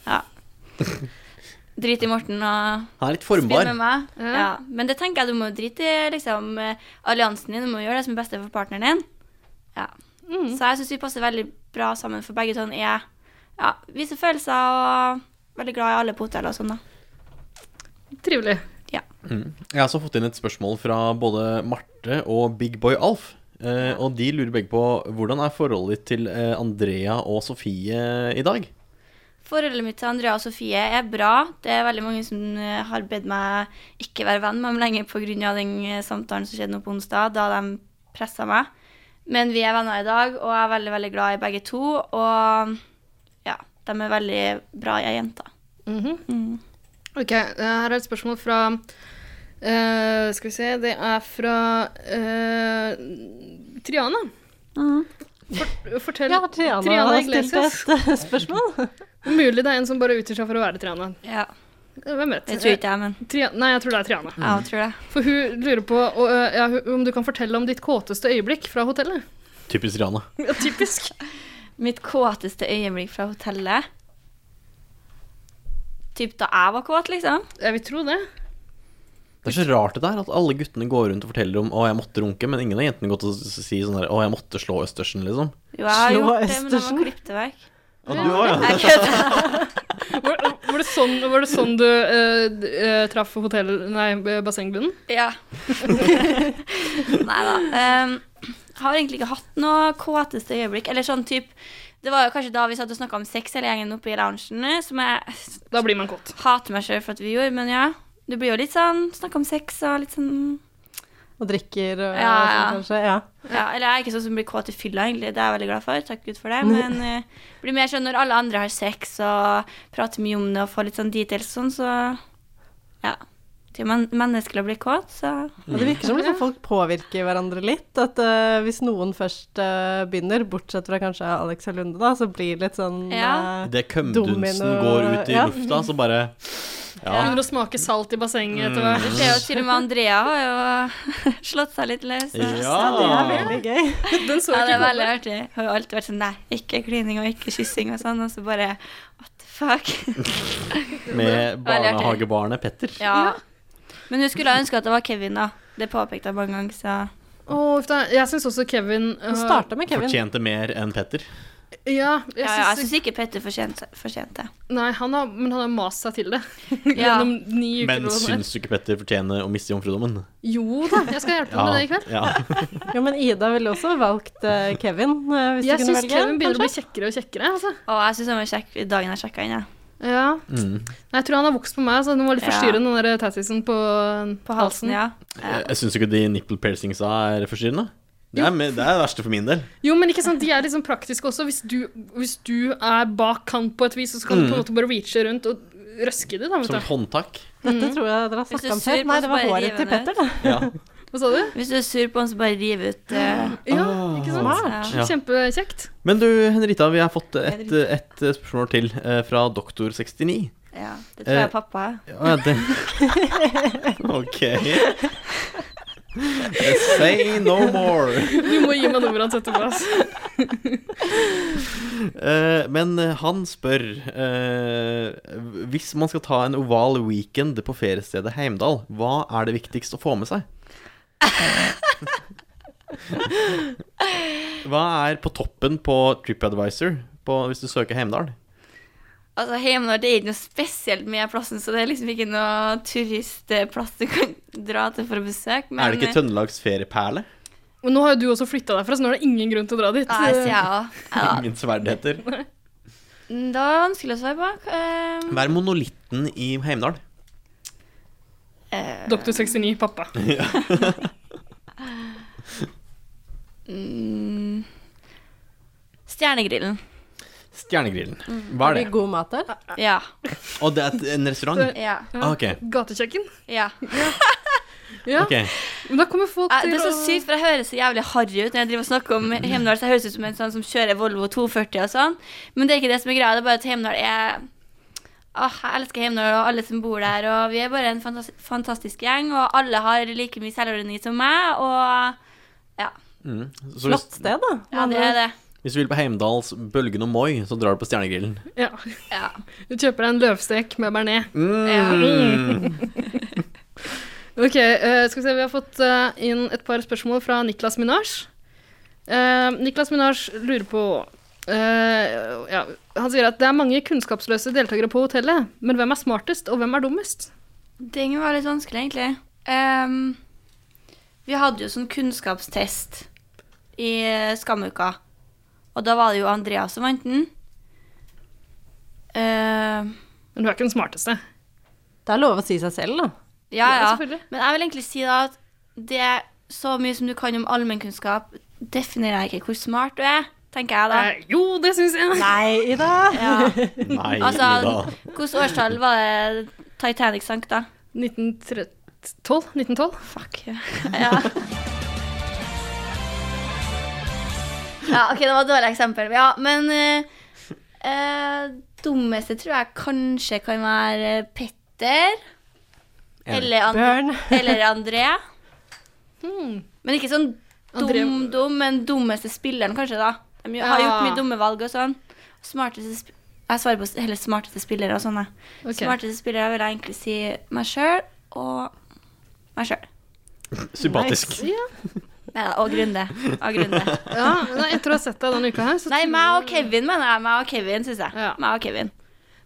ja, drite i Morten og Han er litt spille formbar. med meg. Ja. Ja. Men det tenker jeg du må drite i liksom, eh, alliansen din, du må gjøre det som er beste for partneren din. Ja. Så jeg syns vi passer veldig bra sammen, for begge to er ja, viser følelser og veldig glad i alle på hotellet og sånn, da. Trivelig. Jeg har også fått inn et spørsmål fra både Marte og Big Boy Alf. Eh, og de lurer begge på hvordan er forholdet ditt til eh, Andrea og Sofie i dag? Forholdet mitt til Andrea og Sofie er bra. Det er veldig mange som eh, har bedt meg ikke være venn med dem lenger pga. den eh, samtalen som skjedde nå på onsdag, da de pressa meg. Men vi er venner i dag, og jeg er veldig veldig glad i begge to. Og ja, de er veldig bra jeg jenter. Mhm. Mm. Ok, eh, her er et spørsmål fra eh, Skal vi se Det er fra eh, Triana. Fort- fortell Mm. Ja, Triana, Triana har Iglesias. stilt et eh, spørsmål. Mulig det er en som bare utgir seg for å være Triana. Ja, Hvem vet? Det tror ikke jeg, men Eh, Tria- Nei, jeg tror det er Triana. jeg også tror det. For hun lurer på og, eh, ja, hun- om du kan fortelle om ditt kåteste øyeblikk fra hotellet. Typisk Rihanna. Ja, typisk. Mitt kåteste øyeblikk fra hotellet Typ da jeg var kåt, liksom. Jeg vil tro det. Det er så rart det der, at alle guttene går rundt og forteller om 'å, jeg måtte runke', men ingen av jentene går til å s- si sånn der 'å, jeg måtte slå østersen', liksom. Jo, jeg har Slå gjort det, men de Østersen. har klippet det vekk. ja. Jeg kødder. Var, var, det, sånn, var det sånn du eh, d- eh, traff hotell... Nei, eh, bassengbunnen? Ja. Nei da. Em, har egentlig ikke hatt noe kåteste øyeblikk. Eller sånn typ Det var jo kanskje da vi satt og snakka om sex hele gjengen oppe i loungen, som jeg Da blir man kåt. hater meg sjøl for at vi gjorde, men ja. Du blir jo litt sånn Snakke om sex og litt sånn Og drikker og Ja, sånn, ja. kanskje. Ja. Ja, eller jeg er ikke sånn som blir kåt i fylla, egentlig. Det er jeg veldig glad for. Takk Gud for det. Men eh, blir mer sånn når alle andre har sex og prater mye om det og får litt sånn details og sånn, så Ja. Det er jo men menneskelig å bli kåt, så Og det virker som liksom folk påvirker hverandre litt. At eh, hvis noen først eh, begynner, bortsett fra kanskje Alex og Lunde, da, så blir det litt sånn Ja. eh, Idet Domino- kømdunsten går ut i ja. lufta, så bare Ja. Mm. Begynner å smake salt i bassenget etter hvert. Det skjer jo til og med Andrea har jo slått seg litt løs. så- Ja, det er Ja. veldig gøy. Den så Ja, jeg det ikke er veldig artig. Hun har jo alltid vært sånn nei, ikke klining og ikke kyssing og sånn, og så bare what the fuck. Med Veldig artig. barnehagebarnet Petter. Ja. Men hun skulle ha ønska at det var Kevin, da. Det påpekte jeg mange ganger, så Å, uff da. Jeg syns også Kevin øh, Hun starta med Kevin. Fortjente mer enn Petter. Ja, jeg ja, ja, jeg synes- syns ikke Petter fortjente fortjente det. Nei, han har, men han har mast seg til det. Ja. Gjennom ni uker. Men eller hva det er. syns du ikke Petter fortjener å miste jomfrudommen? Jo da, jeg skal hjelpe ham med det i kveld. ja. Jo, men Ida ville også valgt eh, Kevin, eh, hvis Jeg du kunne syns velge. Kevin begynner å bli kjekkere og kjekkere. Altså. Og jeg syns han var kjekk dagen jeg sjekka inn, jeg. Ja. Mm. Nei, Jeg tror han har vokst på meg, så den var litt Ja. forstyrrende, den der tattisen på, På halsen, ja. Jeg, jeg syns ikke de nipple piercingsa er forstyrrende. Det er, me- det er det verste for min del. Jo, men ikke sant, de er liksom praktiske også. Hvis du, hvis du er bak kant på et vis, så kan du på en måte bare reache rundt og røske i det. da, Mm. Som et vet du. håndtak. Dette tror jeg dere har Mm. Hvis du snakket om sur før. på Nei, oss, det var bare håret riv til henne ut. Petter, da. Ja. Hva sa du? Hvis du er sur på han, så bare riv ut eh, Ja, ikke Ah. sant? ja. Ja. Kjempekjekt. Men du, Henrita, vi har fått et, et spørsmål til eh, fra Doktor69. ja. Det tror jeg Eh, pappa er. Å ja, det OK. Say no more. Du må gi meg nummeret hans etterpå. Altså. Eh, men han spør eh, Hvis man skal ta en oval weekend på feriestedet Heimdal, hva er det viktigst å få med seg? hva er på toppen på TripAdvisor på, hvis du søker Heimdal? Altså, Heimdal det er ikke noe spesielt med plassen, så det er liksom ikke noe turistplass du kan dra til for å besøke. Men, er det ikke Trøndelags ferieperle? Og Nå har jo du også flytta derfra, så nå er det ingen grunn til å dra dit. eh, Nei, sier jeg òg. Ja. Ingen sverdheter. Det var vanskelig å svare på. Eh, Hva er monolitten i Heimdal? eh, Doktor 69, pappa. mm, Stjernegrillen. Stjernegrillen. Mm. Hva er det? Blir god mat der. Ja. Og det er et- en restaurant? ja. Ah, ok. Gatekjøkken. ja. Ja. Ok. Men da kommer folk Eh, til Det er så å- sykt, for jeg høres så jævlig harry ut når jeg driver og snakker om Heimdal. Så jeg høres ut som en sånn som kjører Volvo 240 og sånn. Men det er ikke det som er greia. Det er bare at Heimdal er Åh, Jeg elsker Heimdal og alle som bor der. Og vi er bare en fantas fantastisk gjeng. Og alle har like mye selvironi som meg. Og Mm. Så hvis, Flott sted, da. ja, det er det. hvis du vil på Heimdals Bølgen og Moi, så drar du på Stjernegrillen. Ja. Ja. Du kjøper deg en løvstek med bearnés. Mm. Ok, eh, skal vi se, vi har fått eh, inn et par spørsmål fra Niklas Minasj. Eh, Niklas Minasj lurer på eh, ja, Han sier at det er mange kunnskapsløse deltakere på hotellet, men hvem er smartest, og hvem er dummest? Ting var litt vanskelig, egentlig. Ehm, vi hadde jo sånn kunnskapstest i Skamuka. Og da var det jo Andreas som vant den. Eh, Men hun er ikke den smarteste. Det er lov å si seg selv, da. ja, Ja, ja. selvfølgelig. Men jeg vil egentlig si da at det er så mye som du kan om allmennkunnskap, definerer jeg ikke hvor smart du er, tenker jeg da. Eh, jo, det syns jeg. Nei, Ida. Ja. Nei, Altså, Ida. hvilket årstall var det Titanic sank, da? 1912? 1912? Fuck. Ja. ja. ja, OK, det var et dårlig eksempel. Ja, men eh, eh, dummeste tror jeg kanskje kan være Petter. Eller, And Bjørn. eller André. Hmm. Men ikke sånn André- dum-dum, men dummeste spilleren, kanskje, da. De jo- har Ja. gjort mye dumme valg og sånn. Smarteste sp jeg svarer på s- heller smarteste spillere og sånn, jeg. Ok. Smarteste spillere vil jeg egentlig si meg sjøl og meg sjøl. Sympatisk. Nei da, og Grunde. Og Grunde. Ja, nei, jeg tror jeg har sett deg denne uka her. Så Nei, meg og Kevin, mener jeg. Meg og Kevin, syns jeg. Ja. Meg og Kevin.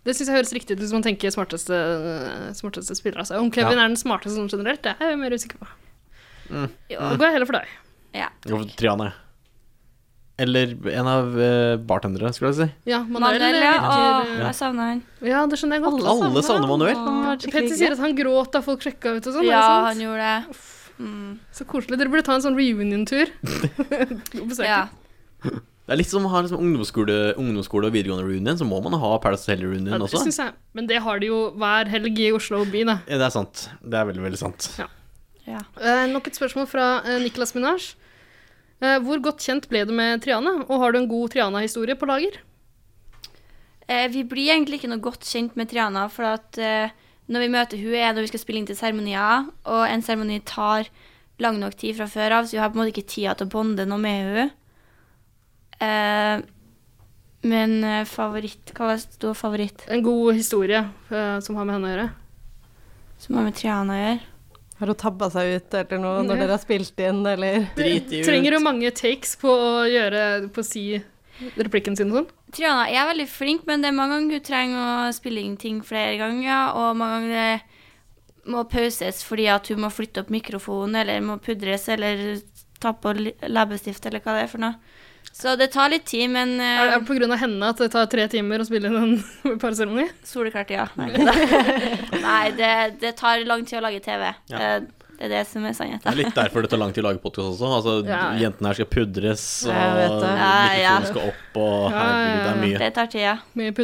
Det syns jeg høres riktig ut hvis man tenker smarteste, øh, smarteste spiller. Altså. Om Kevin Ja. Mm. er den smarteste sånn generelt, det er jeg mer usikker på. Jo, Da går jeg heller for deg. ja. Jo, Triane. Eller en av eh, bartenderne, skulle jeg si. Ja, Manuel. Manuel, ja. Og virker- jeg savner han. ja, det skjønner jeg godt. Alle savner Manuel. Han har vært skikkelig Petter sier at han gråt da folk sjekka ut og sånn. er det Ja, sant? han gjorde det. Mm, Så koselig. Dere burde ta en sånn reunion-tur. Og besøke. ja. Det er litt som å ha liksom, ungdomsskole, ungdomsskole og videregående reunion, så må man ha Paradise Ja, Hotel-reunion det også. synes jeg. Men det har de jo hver helg i Oslo by, da. Ja, Det er sant. Det er veldig, veldig sant. ja. Eh, nok et spørsmål fra eh, Niklas Minaj. Eh, hvor godt kjent ble du med Triana, og har du en god Triana-historie på lager? Eh, vi blir egentlig ikke noe godt kjent med Triana, for at eh, når vi møter hun er når vi skal spille inn til seremonier, og en seremoni tar lang nok tid fra før av, så vi har på en måte ikke tida til å bonde noe med hun. Eh, men eh, favoritt Hva var det stod favoritt? En god historie eh, som har med henne å gjøre. Som har med Triana å gjøre? Har hun tabba seg ut eller noe når dere har spilt inn, eller Drit i Trenger du mange takes på å gjøre På å si replikken sin og sånn? Triana er veldig flink, men det er mange ganger hun trenger å spille inn ting flere ganger, og mange ganger det må pauses fordi at hun må flytte opp mikrofonen, eller må pudres, eller ta på li- leppestift, eller hva det er for noe. Så det tar litt tid, men Er uh, det pga. henne at det tar tre timer å spille inn en parseremoni? soleklart, ja. Nei, det- Nei det, det tar lang tid å lage TV. Ja. Eh, Det er det som er Det er sannheten. litt derfor det tar lang tid å lage podkast også. Altså, Ja, ja. Jentene her skal pudres, og Ja, jeg vet det. Ja, ja. mikrofonen skal opp, og Ja, ja, herregud, det er ja. mye. Det tar tid, ja. Mye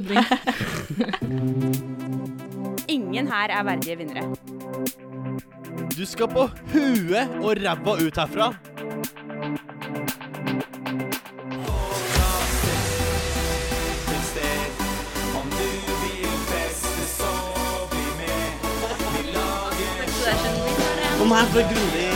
pudling. Ingen her er verdige vinnere. Du skal på huet og ræva ut herfra. Å nei, for grundig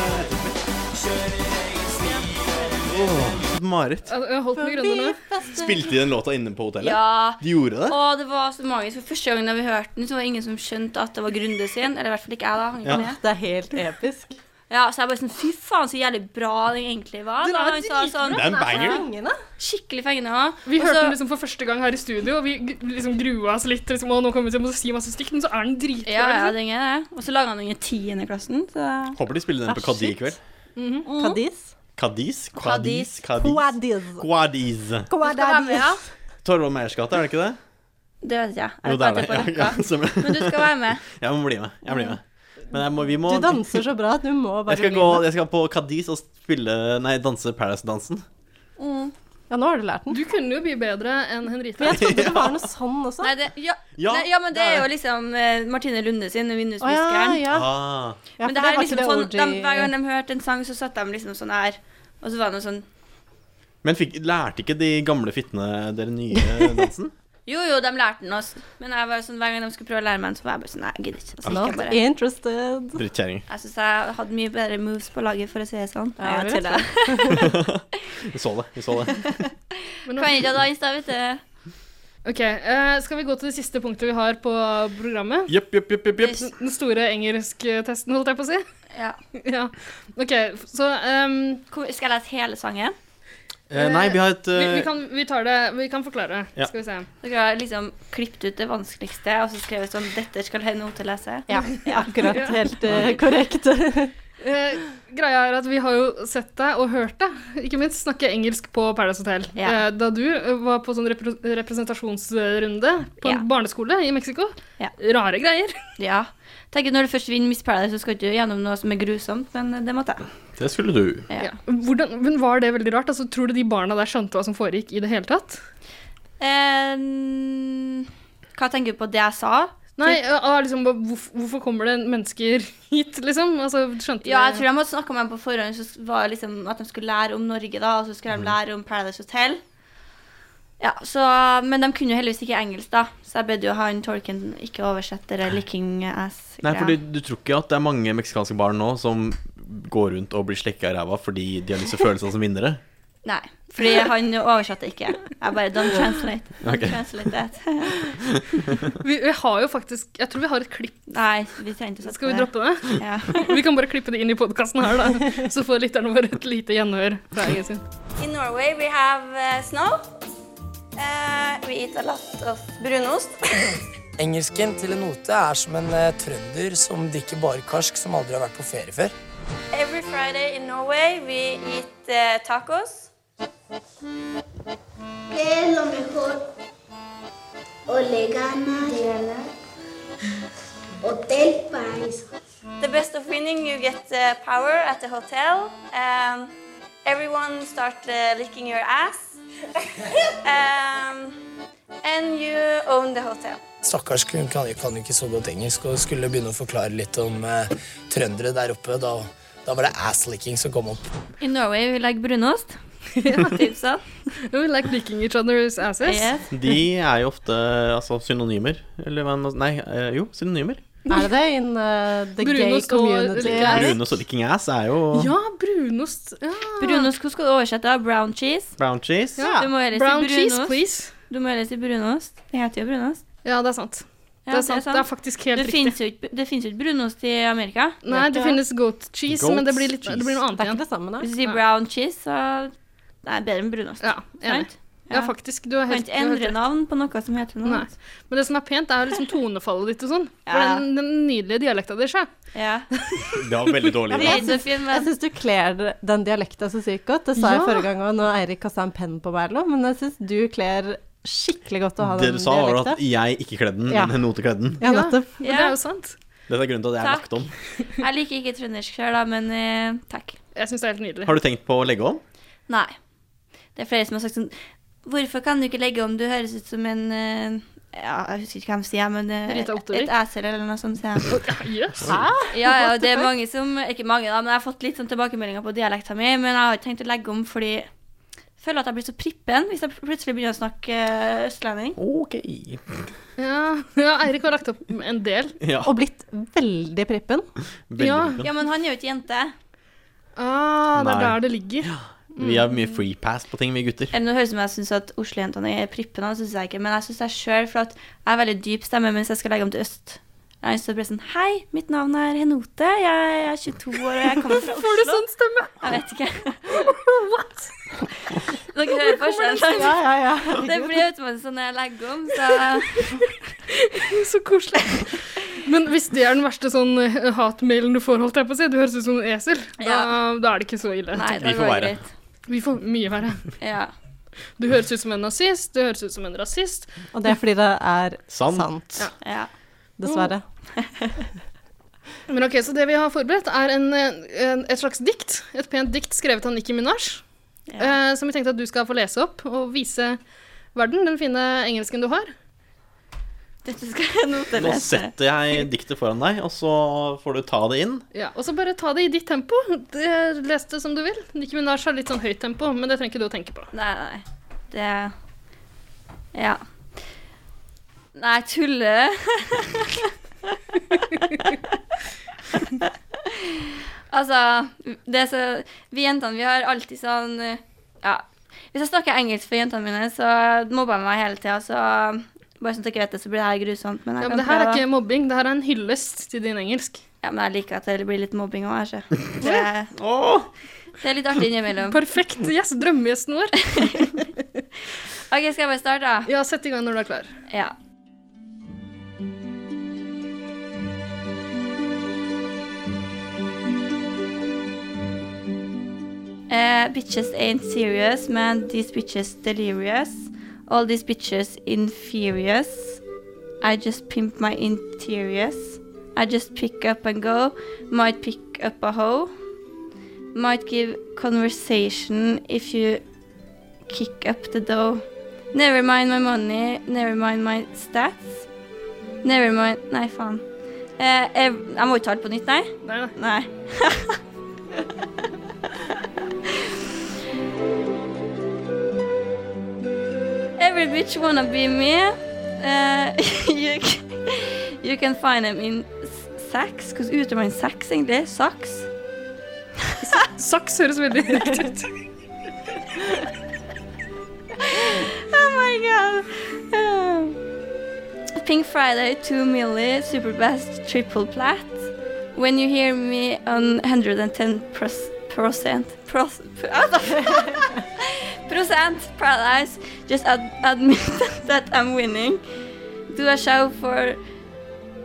Åh, Marit. Jeg har holdt meg grønne nå. Spilte de den låta inne på hotellet? ja. De gjorde det? Og det var så magisk. For første gangen da vi hørte den, så var det ingen som skjønte at det var Grunde sin. Eller i hvert fall ikke jeg, da. Han gikk Ja. med. Det er helt episk. Ja, så jeg bare sånn, fy faen så jævlig bra den egentlig var. Den Da er han sa dritbra. sånn, Det er en banger. Fengende? skikkelig fengende også. Vi Og hørte så- den liksom for første gang her i studio, og vi g- liksom grua oss litt. Liksom, og nå kommer vi til å måtte si masse stygt, men så er den dritbra. Ja, ja, liksom. den er det. Og så laget han den i 10. klassen. Så. Håper de spiller den på Ah, Kadi i shit. kveld. Mm. Cadiz? Kadis? Cadiz. Kadis? Quadiz. ja. Torvald Meyers gate, er det ikke det? Det vet ikke jeg. Jo, Jeg det vet er det. ikke på Ja, rekka. ja, stemmer. Men du skal være med. Jeg må bli med. Jeg blir med. Men jeg må, vi må Du danser så bra at du må jeg bare skal, bli gå, med. jeg skal på Kadis og spille Nei, danse Paradise-dansen. Ja, nå har du lært den. Du kunne jo bli bedre enn Henrita. Men jeg trodde det var noe sånn også. Nei, det, ja. Ja, Nei, ja, men det det er er jo liksom eh, Martine Lunde sin, Å ja, Vindusviskeren. ja. Ah, ja Men for det her er var liksom ikke sånn, OG de, hver gang de hørte en sang, så satt de liksom sånn her. Og så var det noe sånn, men fikk, lærte ikke de gamle fittene dere nye dansen? jo jo, de lærte den oss. Men jeg var sånn, hver gang de skulle prøve å lære meg den, så var jeg bare sånn, nei, jeg gidder ikke. Så gikk jeg Not bare. interested. Drittkjerring. Jeg syns jeg hadde mye bedre moves på laget, for å si det sånn. Ja, jeg det vet tuller. Vi så det. vi så det Men nå- Kan ikke ha dans, da, vet du. Ok, eh, skal vi gå til det siste punktet vi har på programmet? Jepp, jepp, jepp, jepp, jepp. Yes. Den store engelsktesten, holdt jeg på å si. Ja. ja. Ok, f- så ehm, Hvor- Skal jeg lese hele sangen? Eh, nei, vi har et vi, eh, vi, kan, vi tar det Vi kan forklare. Ja. Skal vi se. Dere har liksom klippet ut det vanskeligste og så skrevet sånn 'Dette skal hende noe til å lese'. Ja, akkurat helt eh, korrekt. Eh, greia er at vi har jo sett deg og hørt deg, ikke minst snakke engelsk på Paradise Hotel. Ja. Eh, da du eh, var på sånn repre representasjonsrunde på Ja. en barneskole i Mexico. Ja. Rare greier. Ja. Tenker Når du først vinner Miss Paradise, så skal du ikke gjennom noe som er grusomt, men eh, det måtte jeg. Det skulle du. Ja. Hvordan, men var det veldig rart? Altså, tror du de barna der skjønte hva som foregikk i det hele tatt? Eh, hva tenker du på det jeg sa? Nei, ah, liksom, hva- hvorf hvorfor kommer det mennesker hit, liksom? Altså, skjønte Ja, jeg det- tror de hadde snakka med dem på forhånd, så var det liksom at de skulle lære om Norge, da, og så Mm. skulle de lære om Paradise Hotel. Ja, så, Men de kunne jo heldigvis ikke engelsk, da, så jeg bød jo han tolken ikke oversette det licking ass. Nei, for du, du tror ikke at det er mange meksikanske barn nå som går rundt og blir slekka i ræva fordi de har lyst til å føle seg som vinnere? Nei, fordi han oversatte ikke. Jeg bare Don't translate. Don't Ok. translate that. vi, vi har jo faktisk Jeg tror vi har et klipp. Nei, vi trengte å sette Skal vi det. droppe det? Ja. Vi kan bare klippe det inn i podkasten her, da. Så får lytterne våre et lite gjenhør fra egen sin. In Norway we have uh, snow. Uh, we eat a lot of brunost. Engelsken til en note er som en eh, trønder som drikker bare karsk som aldri har vært på ferie før. Every Friday in Norway we eat uh, tacos. ¿Qué es lo mejor? Olegana, Hotel Paraíso. The best of winning you get uh, power at the hotel. Um, everyone start uh, licking your ass. um, and you own the hotel. Stakkars hun kan, kan jo ikke så godt engelsk og skulle begynne å forklare litt om eh, trøndere der oppe. Da, da var det ass-licking som kom opp. In Norway we like brunost. Typ sånn. We like licking each other's asses. Yes. De er jo ofte altså, synonymer. Eller hva man- Nei, eh, jo, synonymer. Er det det in eh, the gay Brunost og community? like ass. Brune og licking ass er jo Ja, brunost. Ja. Brunost, hvordan skal du oversette det? Brown cheese? brown cheese. Ja. Du må heller si Brown brunost. cheese, please. Du må heller si brunost. Det heter jo brunost. Ja, det er sant. Ja, det, er sant. det er faktisk helt Det riktig. finnes jo ikke, det finnes jo ikke brunost i Amerika. Nei, det finnes goat cheese, Goat men det blir, litt, det blir noe annet Det er ikke igjen. det samme, da. Hvis du sier Nei. brown cheese, så Det er bedre enn brunost. Ja, enig. Sant? Ja, faktisk. Du har Kan helt, ikke du har helt endre rett. navn på noe som heter noe Nei. annet. Men det som er pent, er jo liksom tonefallet ditt og sånn. For Ja. Den, den nydelige dialekta di, sjø. Ja. Det var veldig dårlig. Det er så fint, Jeg men syns du kler d- den dialekta så sykt godt. Det sa Ja. jeg forrige gang òg, når Eirik kasta en penn på meg, eller noe, men jeg syns du kler skikkelig godt å ha Det den du sa, var dialekta. at jeg ikke kledde den, Ja. men Note kledde den. Ja, Ja. nettopp. Og Ja. det er jo sant. Dette er grunnen til at jeg er Takk. lagt om. Jeg liker ikke trøndersk sjøl, da, men eh, takk. Jeg syns det er helt nydelig. Har du tenkt på å legge om? Nei. Det er flere som har sagt sånn Hvorfor kan du ikke legge om? Du høres ut som en eh, ja, Jeg husker ikke hva de sier, men eh, Rita Ottervik. et esel eller noe sånt. sier de. Yes. Ja, ja, og det er mange som Ikke mange, da, men jeg har fått litt sånn tilbakemeldinger på dialekta mi. Men jeg har ikke tenkt å legge om fordi jeg føler at jeg blir så prippen hvis jeg plutselig begynner å snakke eh, østlending. Ok. Ja. ja, Eirik har lagt opp en del. Ja, Og blitt veldig prippen. veldig Ja. bra. Ja, men han er jo ikke jente. Ah, det er Nei. der det ligger. Vi har mye free pass på ting, vi gutter. Eller nå høres det ut som jeg synes at Oslo-jentene er prippene, det synes jeg ikke. Men jeg synes jeg selv, for at jeg er veldig dyp stemme mens jeg skal legge om til øst. Jeg har lyst til å bli sånn Hei, mitt navn er Henote. Jeg er 22 år, og jeg kommer fra Oslo. Får du sånn stemme? Jeg vet ikke. What? Dere hører forskjellen. Ja, ja, ja. Det blir automatisk sånn når jeg legger om, så Så koselig. Men hvis det er den verste sånn eh, hatmailen du får, holdt jeg på å si, du høres ut som en esel, da, Ja. da er det ikke så ille. Nei, Vi det får går være. greit. Vi får mye verre. Ja. Du høres ut som en nazist, du høres ut som en rasist. Og det er fordi det er Sant. sant, ja. dessverre. Men ok, Så det vi har forberedt, er en, eh, en, et slags dikt. Et pent dikt skrevet av Nikki Minaj, ja. eh, som vi tenkte at du skal få lese opp og vise verden den fine engelsken du har. Dette skal jeg notere. Nå setter jeg diktet foran deg, og så får du ta det inn. Ja, Og så bare ta det i ditt tempo. Det- Les det som du vil. Nikki Minaj har litt sånn høyt tempo, men det trenger ikke du å tenke på. Nei, nei. Det Ja. Nei, tuller Altså, det er så Vi jentene, vi har alltid sånn Ja. Hvis jeg snakker engelsk for jentene mine, så mobber de meg hele tida, så bare sånn at dere vet det, så blir det her grusomt. Men jeg Ja, kan men Det her er prøve. ikke mobbing, det her er en hyllest til din engelsk. ja, men jeg liker at det blir litt mobbing òg, jeg ser. Det, det er litt artig innimellom. Perfekt yes, drømmegjesten vår. OK, skal jeg bare starte, da? Ja, Sett i gang når du er klar. Ja. med Eh, Bitches Ain't Serious med These Bitches Delirious. All these bitches inferious. I just pimp my interiors. I just pick up and go. Might pick up a hoe. Might give conversation if you kick up the dough. Never mind my money, never mind my stats. Never mind Nei, faen. Eh, jeg, jeg må ikke ta det på nytt, nei? Nei. nei. Every bitch wanna be me. Eh, you, can, you can find them in s- sex. Hvordan uttaler man sex, egentlig? Saks? Saks høres veldig riktig ut. Oh my god. Um, Pink Friday, 2 milli, Superbest, triple plat. When you hear me on 110 pros- percent, pros- what the fuck? percent paradise, just ad- admit that I'm winning. Do a show for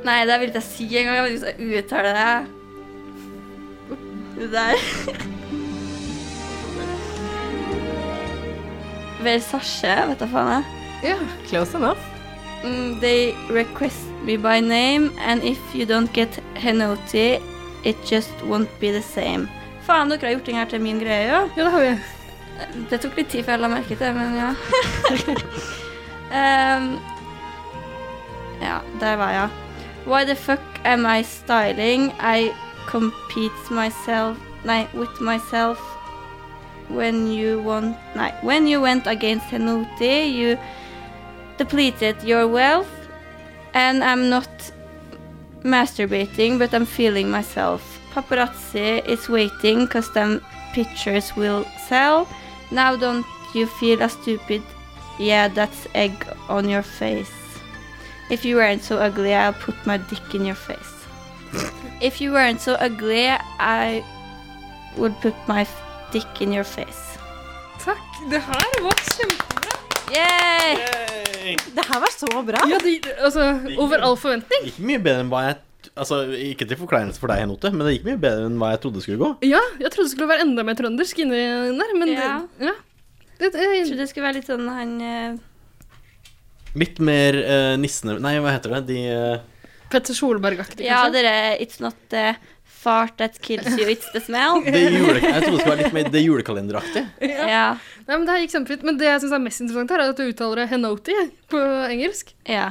Nei, det vil jeg ikke si engang. Jeg vet ikke hvordan jeg uttaler det. Det der. Versace, vet du faen jeg. Ja, close enough. Mm, they request me by name, and if you don't get Henoti, it just won't be the same. Faen, dere har gjort den her til min greie, jo. Ja, det har vi. Det tok litt tid før jeg la merke til det, men ja. Ehm, ja, der var jeg. Why the fuck am I styling? I compete myself Nei, with myself when you want Nei, when you went against Henuti, you depleted your wealth, and I'm not masturbating, but I'm feeling myself. Paparazzi is waiting because them pictures will sell. Now don't you feel a stupid, yeah, that's egg on your face. If you weren't so ugly, I'll put my dick in your face. if you weren't so ugly, I would put my f- dick in your face. Takk. Det her var kjempe... Yay! Det her var så bra. Ja, de, altså, over all forventning. Det gikk mye bedre enn hva jeg Altså, Ikke til forkleinelse for deg, Henote, men det gikk mye bedre enn hva jeg trodde det skulle gå. Ja, jeg trodde det skulle være enda mer trøndersk inni der, men det- Ja. ja. Det, Jeg det, trodde det skulle være litt sånn han eh, Litt mer eh, nissene Nei, hva heter det? De eh, Petter Solberg-aktig, Ja, kanskje? dere, it's not the fart that kills you, it's the smell. det jule, Jeg trodde det skulle være litt mer det julekalenderaktig. Ja. Nei, men det her gikk kjempefint. Men det jeg syns er mest interessant her, er at du uttaler det henoti på engelsk. ja.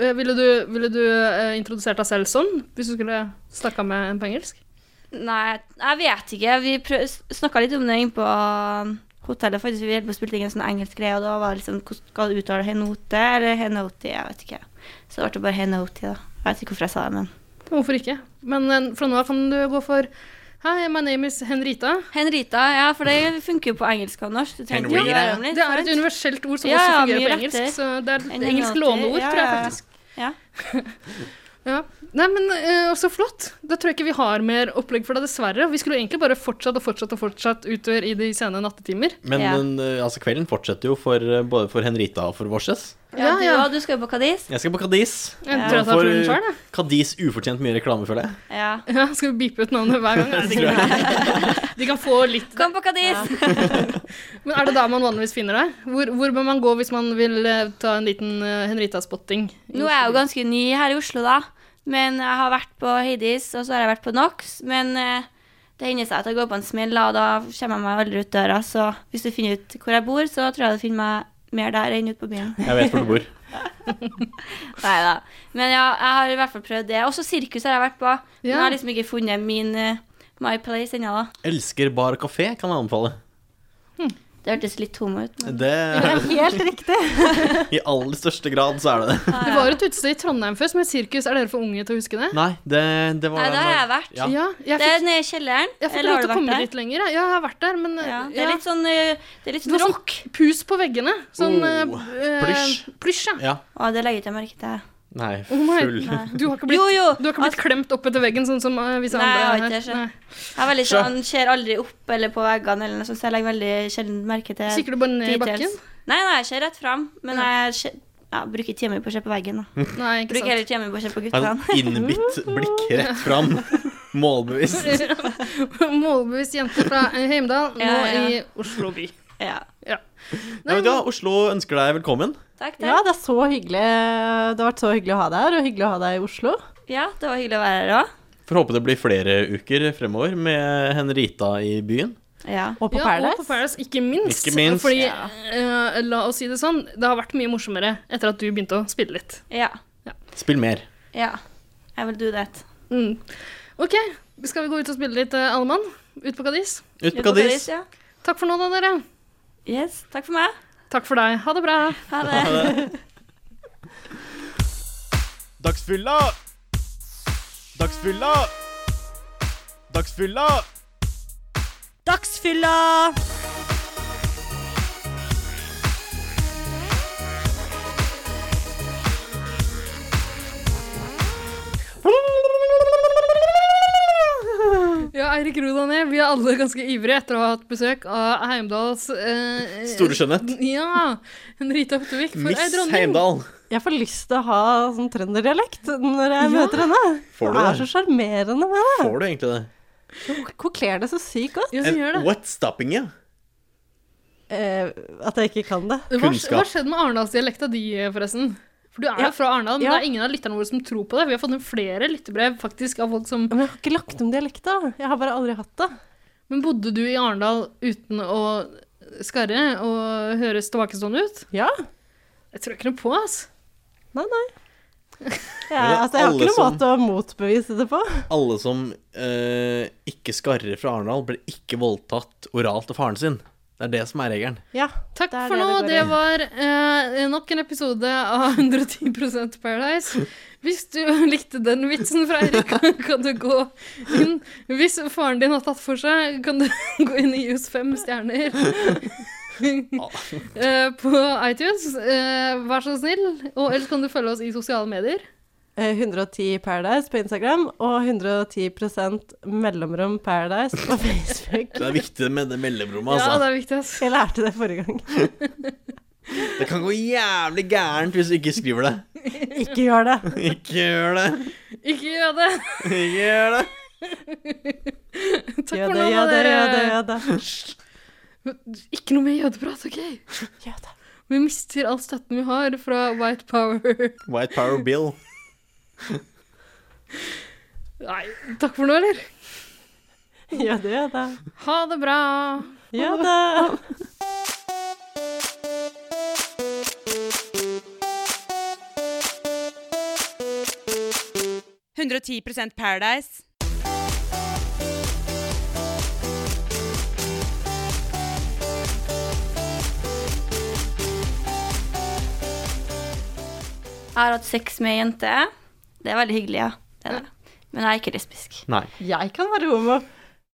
Eh, Ville du, ville du eh, introdusert deg selv sånn, hvis du skulle snakka med en på engelsk? Nei, jeg vet ikke. Vi prøv- snakka litt om det inne på um, hotellet. faktisk. Vi holdt på å spille inn en sånn engelsk greie, og da var det liksom hvordan Skal du uttale henote eller henoti? Jeg vet ikke. Så det ble det bare henoti, da. Jeg vet ikke hvorfor jeg sa det, men Hvorfor ikke? Men eh, fra nå av kan du gå for Hi, my name is Henrita. Henrita, ja, for det funker jo på engelsk og norsk. Du trenger ikke Henrita. å gjøre om litt, Det er sant? et universelt ord som Ja, også ja, fungerer mye på engelsk. lettere. Så det er En et engelsk henoti, låneord, ja, tror jeg ja, ja. faktisk. Ja. Ja. Nei, men eh, også flott. Da tror jeg ikke vi har mer opplegg for deg, dessverre. Vi skulle egentlig bare fortsatt og fortsatt og fortsatt utover i de sene nattetimer. Men Ja. den, eh, altså, kvelden fortsetter jo for, eh, både for Henrita og for Vorses. Ja, Ja, du, ja. og du skal jo på Kadis. Jeg skal på Kadis. Jeg Ja. tror jeg tar For- turen sjøl, jeg. Kadis ufortjent mye reklame, føler jeg. Ja. Ja, skal vi bipe ut navnet hver gang? Nei, det gidder jeg ikke. De kan få litt Kom på Kadis! Men er det da man vanligvis finner deg? Hvor, hvor bør man gå hvis man vil eh, ta en liten eh, Henrita-spotting? Nå er jeg jo ganske ny her i Oslo, da. Men jeg har vært på Hades, og så har jeg vært på Nox. Men eh, det hender seg at jeg går på en smell, og da kommer jeg meg aldri ut døra. Så hvis du finner ut hvor jeg bor, så tror jeg du finner meg mer der enn ute på byen. Jeg vet hvor du bor. Nei da. Men ja, jeg har i hvert fall prøvd det. Også sirkus har jeg vært på. Men jeg Ja. har liksom ikke funnet min eh, my place ennå, da. Elsker bar og kafé, kan jeg anbefale. Det hørtes litt tom ut. Men... Det, Helt riktig. I aller største grad så er det det. Det var et utested i Trondheim før som het Sirkus. Er dere for unge til å huske det? Nei, det, det var Nei, der har jeg vært. Ja. Ja, jeg Det er fikk, nede i kjelleren. jeg fikk Eller lov har til å du vært komme der? dit lenger. jeg. Ja, jeg har vært der, men eh, Ja, det ja. er litt sånn, eh, det er litt Det sånn var sånn rock. pus på veggene. Sånn Oh, eh, eh, plysj. plysj, ja. Ja. Å, det legger ikke jeg merke til. Nei, Oh my- full. Nei. Du har ikke blitt, Jo, jo! du har ikke blitt klemt opp etter veggen, sånn som eh, visse Nei, jeg andre har ikke her. det, Nei. Jeg er veldig Sjø. sånn, ser aldri opp eller på veggene, eller noe sånt, så jeg legger veldig sjelden merke til Kikker du bare ned i bakken? Nei, nei, jeg ser rett fram, men jeg ser, ja, bruker ikke tida mi på å se på veggen. Da. Nei, ikke Bruker sant. heller tida mi på å se på En guttene. innbitt blikk rett fram. Målbevisst. Målbevisst jente fra eh, Heimdal, nå Ja, ja. i Oslo by. Ja. Ja. Ja, vet du hva, Oslo ønsker deg velkommen. Takk, Ja, takk. det er så hyggelig. Det har vært så hyggelig å ha deg her, og hyggelig å ha deg i Oslo. Ja, det var hyggelig å være her òg. Får håpe det blir flere uker fremover med Henrita i byen. Ja. Og på ja, Paradise. og på Paradise, ikke minst. Ikke minst. Fordi, eh, la oss si det sånn, det har vært mye morsommere etter at du begynte å spille litt. ja. Spill mer. Ja. I will do that. Mm. Ok, skal vi gå ut og spille litt, eh, alle mann? Ut på Kadis? Ut på Kadis. Ja. Takk for nå, da, dere. Yes. Takk for meg. Takk for deg. Ha det bra. Ha det. Dagsfylla! Dagsfylla! Dagsfylla! Dagsfylla! Ja, Eirik Rodané, vi er alle ganske ivrige etter å ha hatt besøk av Heimdals eh, Store skjønnhet. Ja. Henrita Hottevik for ei Miss dronning. Heimdal. Jeg får lyst til å ha sånn trønderdialekt når jeg møter henne. Får du det er det? så sjarmerende med det. Får du egentlig det? Hun koklerer det så sykt godt. Ja, hun gjør det. And what's stopping you? Eh, at jeg ikke kan det. Hva, Kunnskap. hva skjedde med Arendalsdialekta di, eh, forresten? For du er Ja. jo fra Arendal, men Ja. det er ingen av lytterne våre som tror på det. Vi har fått inn flere lyttebrev faktisk av folk som Men jeg har ikke lagt om dialekta. Jeg har bare aldri hatt det. Men bodde du i Arendal uten å skarre og høres tilbakestående ut? Ja. Jeg tror ikke noe på, ass. Nei, nei. Jeg, Men altså, jeg har alle ikke som- noen måte å motbevise det på. Alle som eh, ikke skarrer fra Arendal, blir ikke voldtatt oralt av faren sin. Det er det som er regelen. Ja, Takk det er for nå. det Det går i. var eh, nok en episode av 110 Paradise. Hvis du likte den vitsen fra Eirik, kan du gå inn. Hvis faren din har tatt for seg, kan du gå inn i Jus 5 stjerner. Eh, på iTunes. Eh, vær så snill. Og ellers kan du følge oss i sosiale medier. Eh, 110 Paradise på Instagram og 110 mellomrom Paradise på Facebook. Det er viktig med det mellomrommet, Ja, altså. det er viktig, ass. Jeg lærte det forrige gang. Det kan gå jævlig gærent hvis du ikke skriver det. Ikke gjør det. Ikke gjør det. Ikke gjør det. Ikke gjør det. Takk Gjør for nå, det, da, gjør det, gjør det. dere. Gjør det. Ikke noe mer jødeprat, OK? Gjør det. Vi mister all støtten vi har fra White Power. White Power Bill. Nei, takk for nå, eller? Gjør det, gjør det. Ha det bra! Gjør det. Paradise. Jeg har hatt sex med ei jente. Det er veldig hyggelig, ja. Det er det. Men jeg er ikke lesbisk. Nei. Jeg kan være homo.